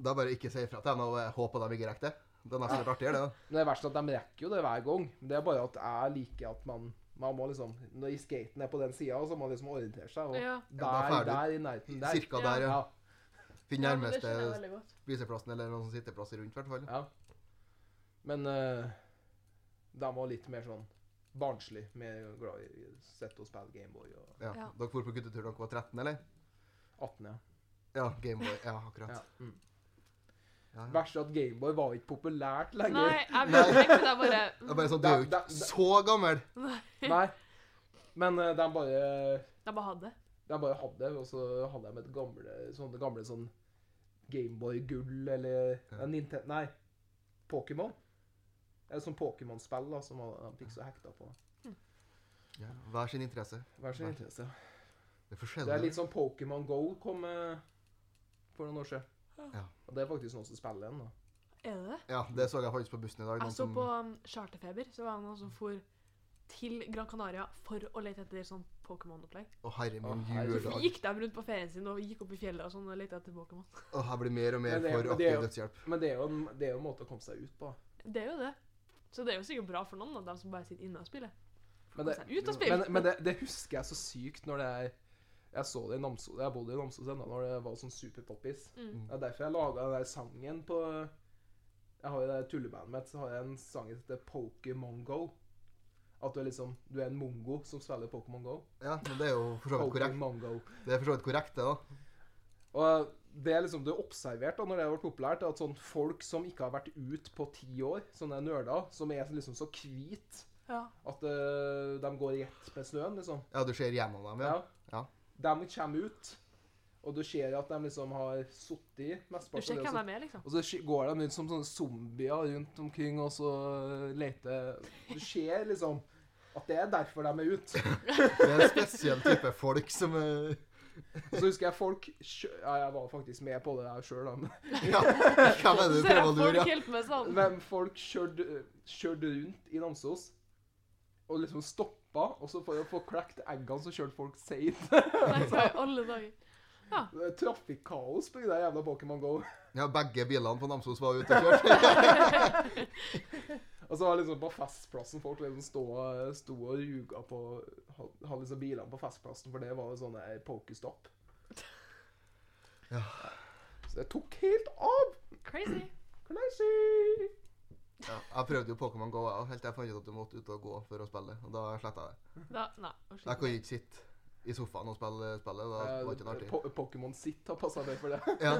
[SPEAKER 2] Da bare ikke si ifra til dem og eh, håp at de ikke rekker det. Det er nesten litt artigere, det.
[SPEAKER 1] Men det verste er at de rekker jo det hver gang. Det er bare at jeg liker at man man må liksom, Når skaten er på den sida, så må man liksom orientere seg. Og
[SPEAKER 3] Ja.
[SPEAKER 2] da
[SPEAKER 1] der,
[SPEAKER 2] får du
[SPEAKER 1] der i nærheten der.
[SPEAKER 2] Cirka
[SPEAKER 3] Ja.
[SPEAKER 2] der, ja.
[SPEAKER 1] Ja,
[SPEAKER 2] Finn
[SPEAKER 3] Ja, men det
[SPEAKER 2] nærmeste
[SPEAKER 3] skjønner jeg veldig godt.
[SPEAKER 2] spiseplassen eller noen sitteplass rundt, i hvert fall.
[SPEAKER 1] ja. Men uh, de var litt mer sånn barnslig. Mer glad i å sitte og spille Gameboy og
[SPEAKER 2] Ja.
[SPEAKER 3] Ja.
[SPEAKER 2] Dere for på guttetur da dere var 13, eller?
[SPEAKER 1] 18, ja.
[SPEAKER 2] Ja, Gameboy. Ja, akkurat.
[SPEAKER 1] ja. Mm.
[SPEAKER 2] Ja, ja.
[SPEAKER 1] Verst er at Gameboy var ikke populært lenger.
[SPEAKER 3] Nei, jeg vet ikke. Det er bare
[SPEAKER 2] Det er bare sånn, du er jo
[SPEAKER 1] Da- da-
[SPEAKER 2] ikke så gammel!
[SPEAKER 1] Nei. Men eh, de bare
[SPEAKER 3] Jeg bare hadde det.
[SPEAKER 1] Jeg bare hadde det, og så hadde jeg med et gamle, sånne gamle sånn Gameboy-gull eller
[SPEAKER 2] Ja.
[SPEAKER 1] ja. Nintendo Nei, Pokémon. Det er sånn Pokémon-spill da, som han han fikk så hekta på.
[SPEAKER 2] Ja, hver sin interesse.
[SPEAKER 1] Vær så
[SPEAKER 2] Nei.
[SPEAKER 1] interesse.
[SPEAKER 2] Det er
[SPEAKER 1] Det er
[SPEAKER 2] forskjellig.
[SPEAKER 1] litt sånn Pokémon Go kom eh, for noen år siden.
[SPEAKER 2] Ja.
[SPEAKER 1] Og det er faktisk noen som spiller den. da.
[SPEAKER 3] Er det det?
[SPEAKER 2] Ja, det så jeg faktisk på bussen i dag.
[SPEAKER 3] Jeg
[SPEAKER 2] Noen
[SPEAKER 3] så
[SPEAKER 2] som
[SPEAKER 3] på um, Charterfeber, så var det noen som for til Gran Canaria for å lete etter sånn Pokémon-opplegg.
[SPEAKER 2] Å, herre min
[SPEAKER 1] Å, herregud.
[SPEAKER 3] Så
[SPEAKER 1] Dag.
[SPEAKER 2] juledag.
[SPEAKER 3] gikk de rundt på ferien sin og gikk opp i fjellet og sånn og lette etter Pokémon.
[SPEAKER 2] Å, her blir mer og mer
[SPEAKER 1] Men det-
[SPEAKER 2] for
[SPEAKER 1] men det er
[SPEAKER 2] aktiv
[SPEAKER 1] jo-
[SPEAKER 2] dødshjelp.
[SPEAKER 1] Men det er, jo en, det er jo en måte å komme seg ut på.
[SPEAKER 3] Det er jo det. Så det er jo sikkert bra for noen av dem som bare sitter inne og spiller.
[SPEAKER 1] Men det,
[SPEAKER 3] Komme seg ut og spille.
[SPEAKER 1] men, men det, det husker jeg så sykt når det er Jeg så det i Namsos, jeg bodde i Namsos ennå når det var sånn superpoppis.
[SPEAKER 3] Mm.
[SPEAKER 1] Det er derfor jeg laga den der sangen på Jeg har jo det tullebandet mitt, så har jeg en sang som heter Pokémon Go. At du er liksom Du er en mongo som spiller Pokémon Go.
[SPEAKER 2] Ja, men det er jo for så vidt korrekt.
[SPEAKER 1] Pokémon Go.
[SPEAKER 2] Det er for så vidt korrekt, det, da.
[SPEAKER 1] Og det er liksom det er observert da, når det har vært populært, at sånn folk som ikke har vært ut på ti år, sånne nerder, som er liksom så hvite
[SPEAKER 3] Ja.
[SPEAKER 1] at øh, de går rett med snøen, liksom.
[SPEAKER 2] Ja, du ser gjennom dem, ja.
[SPEAKER 1] Ja.
[SPEAKER 2] Ja.
[SPEAKER 1] De kommer ut, og du ser at de liksom har sittet
[SPEAKER 3] Du ser
[SPEAKER 1] mesteparten
[SPEAKER 3] hvem
[SPEAKER 1] av det.
[SPEAKER 3] de er, liksom.
[SPEAKER 1] Og så sk- går de ut som sånne zombier rundt omkring og så leter Du ser liksom at det er derfor de er ute.
[SPEAKER 2] Det er en spesiell type folk som eh,
[SPEAKER 1] Og så husker jeg folk kjø Ja, jeg var faktisk med på det der sjøl, da. men-
[SPEAKER 2] Ja, hvem er det
[SPEAKER 3] Så
[SPEAKER 2] du
[SPEAKER 3] ser
[SPEAKER 2] prøver
[SPEAKER 3] jeg
[SPEAKER 2] å lure?
[SPEAKER 3] folk
[SPEAKER 2] ja?
[SPEAKER 3] helt med sånn.
[SPEAKER 1] Men folk kjørte, kjørte rundt i Namsos og liksom stoppa, og så for å få klekt eggene, så kjørte folk seint.
[SPEAKER 3] Nei, hva i alle dager.
[SPEAKER 1] Trafikkaos på det der jævla Pokémon Go.
[SPEAKER 2] Ja, begge bilene på Namsos var ute og kjørte.
[SPEAKER 1] Og så var det liksom på festplassen folk liksom stå, sto og ruga på ha- ha liksom bilene på festplassen, for det var jo sånne eh, pokestopp.
[SPEAKER 2] Ja.
[SPEAKER 1] Så det tok helt av!
[SPEAKER 3] Crazy.
[SPEAKER 1] Crazy!
[SPEAKER 2] Ja, jeg prøvde jo Pokémon Go, jeg òg, helt til jeg fant ut at du måtte ut og gå for å spille. Og da sletta jeg det.
[SPEAKER 3] Da, nei, å, slutt.
[SPEAKER 2] Jeg kunne ikke sitte i sofaen og spille spillet. Da var ikke det
[SPEAKER 1] Eh,
[SPEAKER 2] artig.
[SPEAKER 1] po Pokémon sitt har passa meg for det.
[SPEAKER 2] Ja.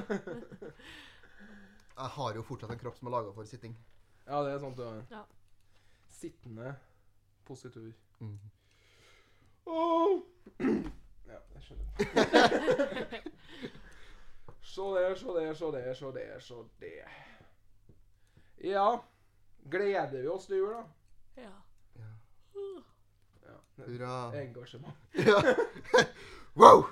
[SPEAKER 2] Jeg har jo fortsatt en kropp som er laga for sitting.
[SPEAKER 1] Ja, det er sant. det.
[SPEAKER 3] Ja.
[SPEAKER 1] Sittende positur.
[SPEAKER 2] Mm.
[SPEAKER 1] Åh! Ja, jeg skjønner. så det, så det, så det, så det, så det. Ja. Gleder vi oss til jul, da?
[SPEAKER 3] Ja.
[SPEAKER 2] Ja.
[SPEAKER 3] Uh,
[SPEAKER 1] Ja.
[SPEAKER 2] Hurra.
[SPEAKER 1] Engasjement.
[SPEAKER 2] Ja. Wow!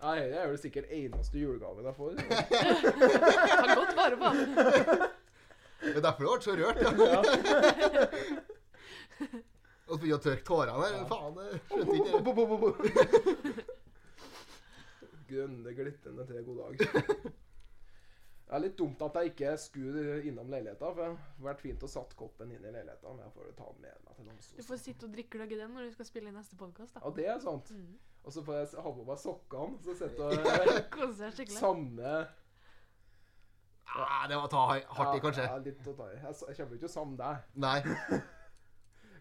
[SPEAKER 1] Nei, det er vel sikkert eneste julegaven jeg får.
[SPEAKER 3] Ta godt vare på ham.
[SPEAKER 2] Det er derfor du ble så rørt. ja. Og så begynner jeg å tørke tårene her. Faen, jeg skjønte ikke det.
[SPEAKER 1] Grønne, glitrende tre, god dag. Det er litt dumt at jeg ikke skulle innom leiligheta. For det hadde vært fint å satt koppen inn i leiligheta, men jeg får jo ta den med meg til
[SPEAKER 3] Du får
[SPEAKER 1] Namsos.
[SPEAKER 3] sitte og drikke gløgg i den når du skal spille i neste podkast.
[SPEAKER 1] Ja, det er sant.
[SPEAKER 3] Mm.
[SPEAKER 1] Og så får jeg s- ha på meg sokkene, så sitter jeg
[SPEAKER 3] Kose deg skikkelig.
[SPEAKER 1] samme
[SPEAKER 2] Ah, det var å ta har- hardt i, kanskje.
[SPEAKER 1] Ja, litt å ta i. Jeg s- jeg kommer ikke til å savne deg.
[SPEAKER 2] Nei.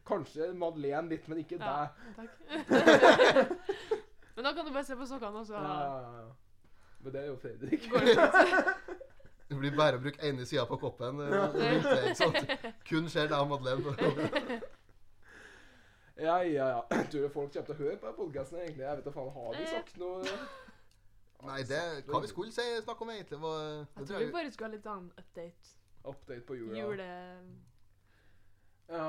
[SPEAKER 1] Kanskje Madeleine litt, men ikke
[SPEAKER 3] Ja.
[SPEAKER 1] deg.
[SPEAKER 3] Takk. Men da kan du bare se på sokkene, og så
[SPEAKER 1] Ja, ja, ja. Men det er jo Fredrik.
[SPEAKER 3] går det fint.
[SPEAKER 2] Det blir bare å bruke ene sida på koppen. eh, og rundt det, ikke sant? Kun ser deg og Madeleine.
[SPEAKER 1] Ja, ja, ja. Tror du folk kommer til å høre på podkasten egentlig? Jeg vet da faen, har
[SPEAKER 3] Eh.
[SPEAKER 1] vi sagt noe?
[SPEAKER 2] Nei, det hva vi skulle si, snakke om egentlig, var
[SPEAKER 3] Jeg
[SPEAKER 2] det
[SPEAKER 3] tror vi
[SPEAKER 2] jeg-
[SPEAKER 3] bare skulle ha litt annen update.
[SPEAKER 1] Update på jula.
[SPEAKER 3] Jule...
[SPEAKER 1] Ja.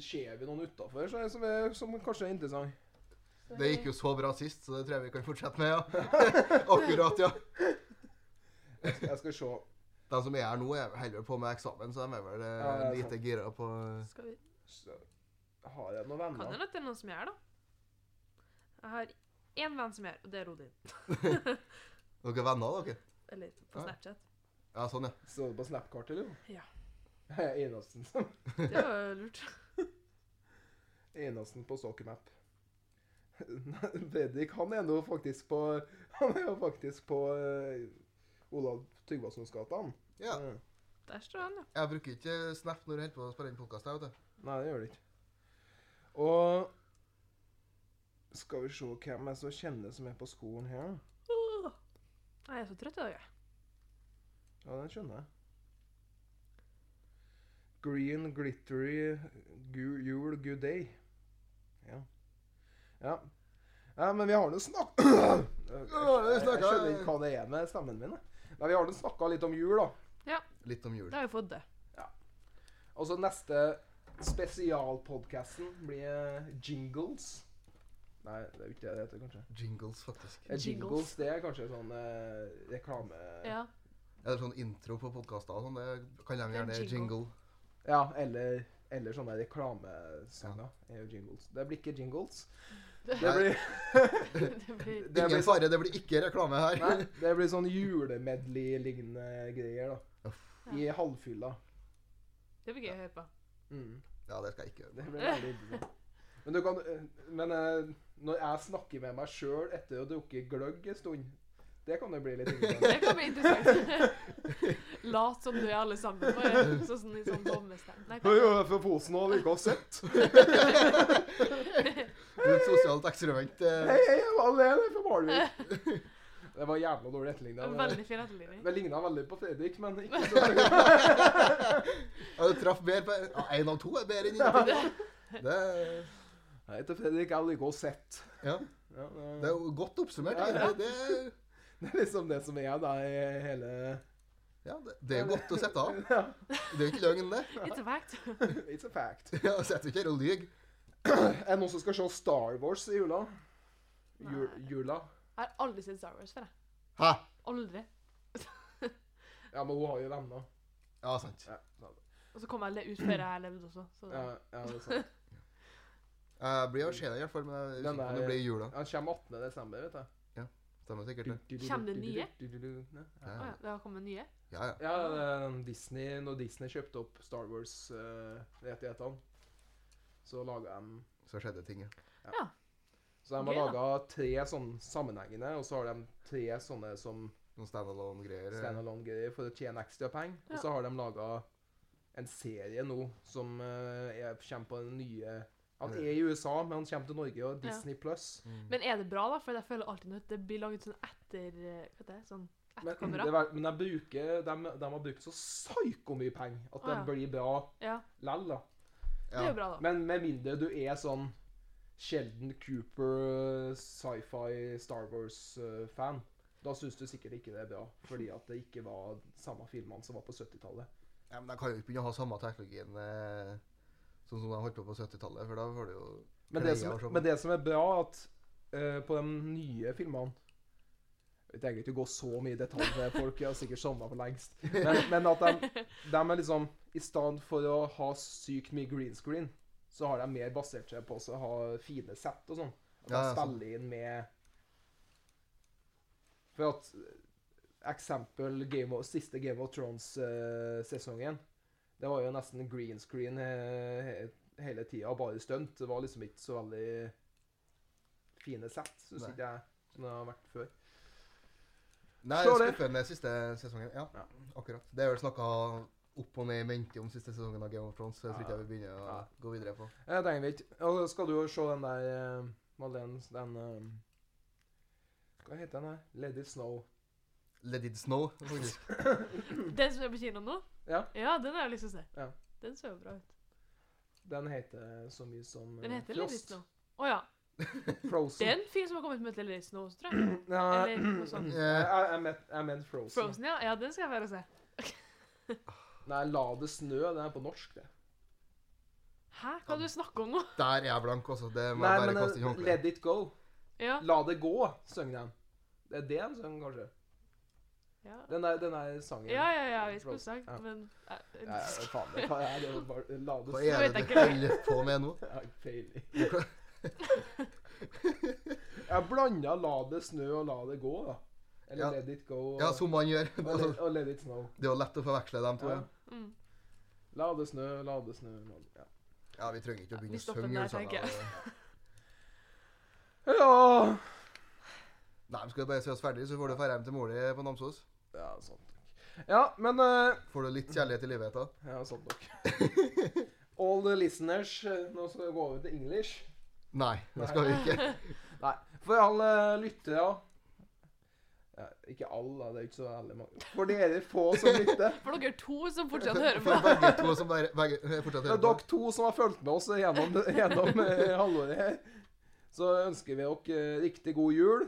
[SPEAKER 1] Ser vi noen utafor som, er- som kanskje er interessant?
[SPEAKER 2] Det gikk jo så bra sist, så det tror jeg vi kan fortsette med, ja. Akkurat, ja.
[SPEAKER 1] Jeg skal, jeg skal se.
[SPEAKER 2] De som er her nå, er heller på med eksamen, så de er vel eh,
[SPEAKER 1] Ja, det er
[SPEAKER 2] lite gira på eh,
[SPEAKER 3] Skal vi...
[SPEAKER 1] Så, har jeg noen
[SPEAKER 3] Kan
[SPEAKER 1] venner?
[SPEAKER 3] hende at det er noen som gjør da. Jeg har én venn som gjør, og det er Rodin.
[SPEAKER 2] Dere er venner, dere?
[SPEAKER 3] Eller
[SPEAKER 2] Ja.
[SPEAKER 3] på Snapchat.
[SPEAKER 2] Ja, sånn, ja.
[SPEAKER 1] Så du på Snapkartet, eller?
[SPEAKER 3] Ja.
[SPEAKER 1] Jeg er eneste som
[SPEAKER 3] Det var jo lurt.
[SPEAKER 1] Eneste på Stalkermap. Fredrik, han er nå faktisk på Han er jo faktisk på eh, Olav Tryggvasons gate, han.
[SPEAKER 2] ja.
[SPEAKER 1] Mm.
[SPEAKER 3] Der står han, ja.
[SPEAKER 2] Jeg bruker ikke Snap når jeg holder på å spille inn podkast, jeg, vet du.
[SPEAKER 1] Nei, det gjør det ikke. Og Skal vi se hvem jeg så kjenner som er på skolen her.
[SPEAKER 3] Åh. Nei, Jeg er så trøtt i dag, jeg.
[SPEAKER 1] Ja, den skjønner jeg. Green, glittery, gu, jul, good day. Ja. Ja. ja men vi har nå snakka jeg, jeg, jeg
[SPEAKER 2] snakket-
[SPEAKER 1] skjønner ikke hva det er med stemmen min. jeg. Men vi har nå snakka litt om jul, da.
[SPEAKER 2] Litt om jul.
[SPEAKER 3] Da har vi fått det.
[SPEAKER 1] Og så Altså, neste spesialpodkasten blir jingles. Nei, det er jo ikke det det heter, kanskje.
[SPEAKER 2] Jingles, faktisk.
[SPEAKER 1] Eh, Jingles,
[SPEAKER 3] Jingles.
[SPEAKER 1] det er kanskje sånn eh, reklame...
[SPEAKER 3] Ja.
[SPEAKER 2] Er det sånn intro på podkaster og sånn? Det kan de
[SPEAKER 3] Det er
[SPEAKER 2] gjerne
[SPEAKER 3] jingle.
[SPEAKER 2] jingle.
[SPEAKER 1] Ja, eller Eller sånne reklamesanger. er jo jingles. Det blir ikke jingles.
[SPEAKER 3] Det-
[SPEAKER 1] Det blir,
[SPEAKER 3] det blir
[SPEAKER 1] Det blir
[SPEAKER 2] Ingen
[SPEAKER 1] sånn-
[SPEAKER 2] fare, det blir ikke reklame her.
[SPEAKER 1] nei, det blir sånn julemedley-lignende greier, da.
[SPEAKER 2] Uff.
[SPEAKER 1] I halvfylla.
[SPEAKER 3] det blir gøy å høre på.
[SPEAKER 1] Mm.
[SPEAKER 2] Ja, det skal jeg ikke gjøre.
[SPEAKER 1] Det blir veldig ille. Men, du kan, eh, men eh, når jeg snakker med meg sjøl etter å ha drukket gløgg en stund, det kan jo bli litt ille.
[SPEAKER 3] Det kan bli interessant. Lat som du er alle sammen. Og jeg, så sånn, i sånn dommestemme. Nei,
[SPEAKER 1] Jeg
[SPEAKER 3] hva-
[SPEAKER 1] er fra Fosen og liker å sett.
[SPEAKER 2] Du er et sosialt eksperiment.
[SPEAKER 1] Hei,
[SPEAKER 2] eh,
[SPEAKER 1] hei, jeg var alene fra Malvik. Det var jævla dårlig etterligna. Det,
[SPEAKER 3] Veldig fin etterligning.
[SPEAKER 1] det ligna veldig på Fredrik, men ikke så veldig.
[SPEAKER 2] Ja, du traff bedre på ja, En av to er bedre enn ingenting. Det, er-
[SPEAKER 1] Jeg heter Fredrik, jeg liker å sett.
[SPEAKER 2] ja,
[SPEAKER 1] Ja,
[SPEAKER 2] det er jo godt oppsummert. egentlig. Det, er-
[SPEAKER 1] Det er liksom det som er deg hele
[SPEAKER 2] ja, det, det er jo godt å sette av.
[SPEAKER 1] Ja.
[SPEAKER 2] Det er jo ikke løgn, det.
[SPEAKER 3] It's a fact.
[SPEAKER 1] It's a fact.
[SPEAKER 2] Ja, Sitter jo ikke her og lyver.
[SPEAKER 1] Er det noen som skal se Star Wars i jula? Ju-
[SPEAKER 3] Nei.
[SPEAKER 1] Jula?
[SPEAKER 3] Jeg har aldri sett Star Wars før. jeg.
[SPEAKER 2] Hæ?
[SPEAKER 3] Aldri.
[SPEAKER 1] Ja, men hun har jo venner.
[SPEAKER 2] Ja, sant.
[SPEAKER 1] Ja, sant.
[SPEAKER 3] Og så kom jeg le- ut før jeg levde også. Så
[SPEAKER 1] Ja, ja, det er sant.
[SPEAKER 2] Jeg blir å se det i hvert fall, men jeg er usikker på om det blir i jula.
[SPEAKER 1] Han kommer 18. desember, vet jeg.
[SPEAKER 2] Stemmer sikkert det.
[SPEAKER 3] Kjem det nye?
[SPEAKER 2] Ja,
[SPEAKER 3] Å ja, det har kommet nye.
[SPEAKER 2] ja. ja.
[SPEAKER 1] Ja, det er en Disney, når Disney kjøpte opp Star Wars-rettighetene, så laga de
[SPEAKER 2] Så skjedde ting, ja.
[SPEAKER 1] Så de har
[SPEAKER 3] Gøy, da.
[SPEAKER 1] laga tre sånn sammenhengende, og så har de tre sånne som
[SPEAKER 2] Noen standalone-greier. eh.
[SPEAKER 1] standalone-greier for å tjene ekstra penger.
[SPEAKER 3] Ja.
[SPEAKER 1] Og så har de laga en serie nå som eh, er, kommer på den nye Han er i USA, men han kommer til Norge og
[SPEAKER 3] Ja.
[SPEAKER 1] Disney Pluss.
[SPEAKER 2] Mm.
[SPEAKER 3] Men er det bra, da? For jeg føler alltid når det blir laget sånn etter eh, Hva heter det? Sånn
[SPEAKER 1] Men,
[SPEAKER 3] etterkamera.
[SPEAKER 1] det var, men de, bruker, de, de har brukt så psyko mye penger at
[SPEAKER 3] Å, ja.
[SPEAKER 1] de blir bra
[SPEAKER 3] Ja,
[SPEAKER 1] lell, da.
[SPEAKER 3] det er jo
[SPEAKER 2] Ja.
[SPEAKER 3] bra, da.
[SPEAKER 1] Men med mindre du er sånn sjelden Cooper eh, sci-fi Star Wars-fan. Da syns du sikkert ikke det er bra, fordi at det ikke var samme filmene som var på 70-tallet.
[SPEAKER 2] ja, men de kan jo ikke begynne å ha samme teknologien eh, sånn som de holdt på på 70-tallet, for da får du jo
[SPEAKER 1] Men, det
[SPEAKER 2] Kløya og
[SPEAKER 1] som-
[SPEAKER 2] sånn.
[SPEAKER 1] men det som er bra, er at eh, på de nye filmene Jeg trenger ikke å gå så mye i detalj, for folk har sikkert sovna for lengst. Men, men at de, de er liksom I stedet for å ha sykt mye green screen, så har de mer basert seg på å ha fine sett og sånn. At de
[SPEAKER 2] Ja, ja, sant.
[SPEAKER 1] spiller inn med For at eh, eksempel Game of, siste Game of Thrones-sesongen Det var jo nesten green screen eh, he- hele tida, bare stunt. Det var liksom ikke så veldig fine sett, syns
[SPEAKER 2] Nei.
[SPEAKER 1] ikke jeg, som det har vært før.
[SPEAKER 2] Nei,
[SPEAKER 1] Slå det.
[SPEAKER 2] skuffende siste sesongen. Ja,
[SPEAKER 1] Ja.
[SPEAKER 2] akkurat. Det er vel snakka opp og ned i mente om siste sesongen av Game of Thrones, så jeg tror ikke
[SPEAKER 1] Ja.
[SPEAKER 2] jeg vil begynne å
[SPEAKER 1] Ja.
[SPEAKER 2] gå videre på.
[SPEAKER 1] Eh, Det trenger vi ikke. Og så skal du jo se den der eh, Madeleine Den eh, Hva heter den her? Lady Snow.
[SPEAKER 2] Let it snow, faktisk.
[SPEAKER 3] Den som er på kino nå?
[SPEAKER 1] Ja.
[SPEAKER 3] ja, den har jeg lyst til å se.
[SPEAKER 1] Ja.
[SPEAKER 3] Den så jo bra ut.
[SPEAKER 1] Den heter så mye som eh,
[SPEAKER 3] Den heter Lady Snow. Å ja. Det er
[SPEAKER 1] Frozen.
[SPEAKER 3] en film som har kommet med til Lady Snow også, tror jeg.
[SPEAKER 1] Nei,
[SPEAKER 3] Eller noe sånt.
[SPEAKER 2] Eh,
[SPEAKER 1] jeg, jeg, men, jeg mente Frozen.
[SPEAKER 3] Frozen, ja. Ja, den skal jeg være og se.
[SPEAKER 1] Nei, La det snø. Den er på norsk, det.
[SPEAKER 3] Hæ? Hva du snakker om nå?
[SPEAKER 2] der er jeg blank, altså. Det må
[SPEAKER 1] Nei,
[SPEAKER 2] jeg
[SPEAKER 1] men
[SPEAKER 2] bare kaste i
[SPEAKER 1] eh,
[SPEAKER 2] håndkleet.
[SPEAKER 1] Let it go.
[SPEAKER 3] Ja.
[SPEAKER 1] La det gå, synger den. Det er det han synger, kanskje.
[SPEAKER 3] Ja,
[SPEAKER 1] Den er, den er sangen.
[SPEAKER 3] ja, ja, ja vi skulle
[SPEAKER 1] Frozen.
[SPEAKER 3] sagt,
[SPEAKER 1] Ja.
[SPEAKER 3] men eh,
[SPEAKER 1] Nei, faen, det hva er det bare La det
[SPEAKER 2] Hva
[SPEAKER 1] snø.
[SPEAKER 2] er
[SPEAKER 3] vet
[SPEAKER 2] det
[SPEAKER 3] jeg
[SPEAKER 2] du
[SPEAKER 3] ikke.
[SPEAKER 2] holder på med nå?
[SPEAKER 1] Jeg har peiling. Jeg blanda La det snø og La det gå, da. Eller
[SPEAKER 2] Ja.
[SPEAKER 1] Let it go og,
[SPEAKER 2] Ja, som man gjør.
[SPEAKER 1] og, let, og Let it snow.
[SPEAKER 2] Det er jo lett å forveksle dem to.
[SPEAKER 1] Ja.
[SPEAKER 2] Ja,
[SPEAKER 3] mm.
[SPEAKER 1] La det snø, la det snø la det, ja.
[SPEAKER 2] ja vi trenger ikke å
[SPEAKER 3] Vi
[SPEAKER 2] begynne å
[SPEAKER 3] stopper
[SPEAKER 2] synge
[SPEAKER 3] den der, tenker
[SPEAKER 2] julesanger.
[SPEAKER 3] jeg.
[SPEAKER 1] ja.
[SPEAKER 2] Nei, vi skal bare se oss ferdig, så får du dra hjem til mor di på Namsos.
[SPEAKER 1] Ja, sant nok. Ja, men eh,
[SPEAKER 2] Får du litt kjærlighet i livet da.
[SPEAKER 1] Ja, sant nok. All the listeners eh, Nå skal vi gå over til English.
[SPEAKER 2] Nei, det skal vi ikke.
[SPEAKER 1] Nei, for alle lyttere ja, Ikke alle, det er ikke så veldig mange. For dere få som lytter.
[SPEAKER 3] For dere to som fortsatt hører på.
[SPEAKER 2] For begge to som bare begge, eh, fortsatt
[SPEAKER 1] Det er
[SPEAKER 2] hører på.
[SPEAKER 1] dere to som har fulgt med oss gjennom, gjennom eh, halvåret her. Så ønsker vi dere eh, riktig god jul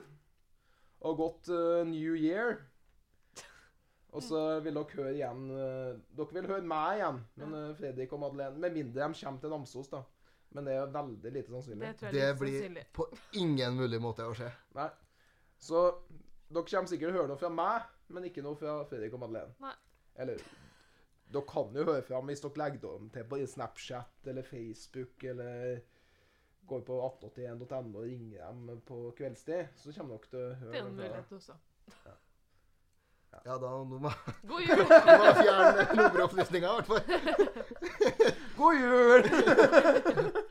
[SPEAKER 1] og godt eh, new year. Og så vil dere høre igjen eh, Dere vil høre meg igjen, men eh, Fredrik og Madeleine Med mindre de kommer til Namsos, da. Men det er veldig lite sannsynlig.
[SPEAKER 3] Det tror jeg
[SPEAKER 2] Det
[SPEAKER 3] er litt
[SPEAKER 2] blir
[SPEAKER 3] sannsynlig.
[SPEAKER 2] på ingen mulig måte å skje.
[SPEAKER 1] Nei. Så dere kommer sikkert til å høre noe fra meg, men ikke noe fra Fredrik og Madeleine.
[SPEAKER 3] Nei.
[SPEAKER 1] Eller Dere kan jo høre fram hvis dere legger dem til på Snapchat eller Facebook eller går på 1881.no og ringer dem på kveldstid. Så kommer dere til å høre
[SPEAKER 3] Det er jo en
[SPEAKER 1] dem fra-
[SPEAKER 3] mulighet også.
[SPEAKER 2] Ja, da nå må
[SPEAKER 3] God jul!
[SPEAKER 2] nå må jeg fjerne nummeropplysninga, i hvert fall.
[SPEAKER 1] God jul!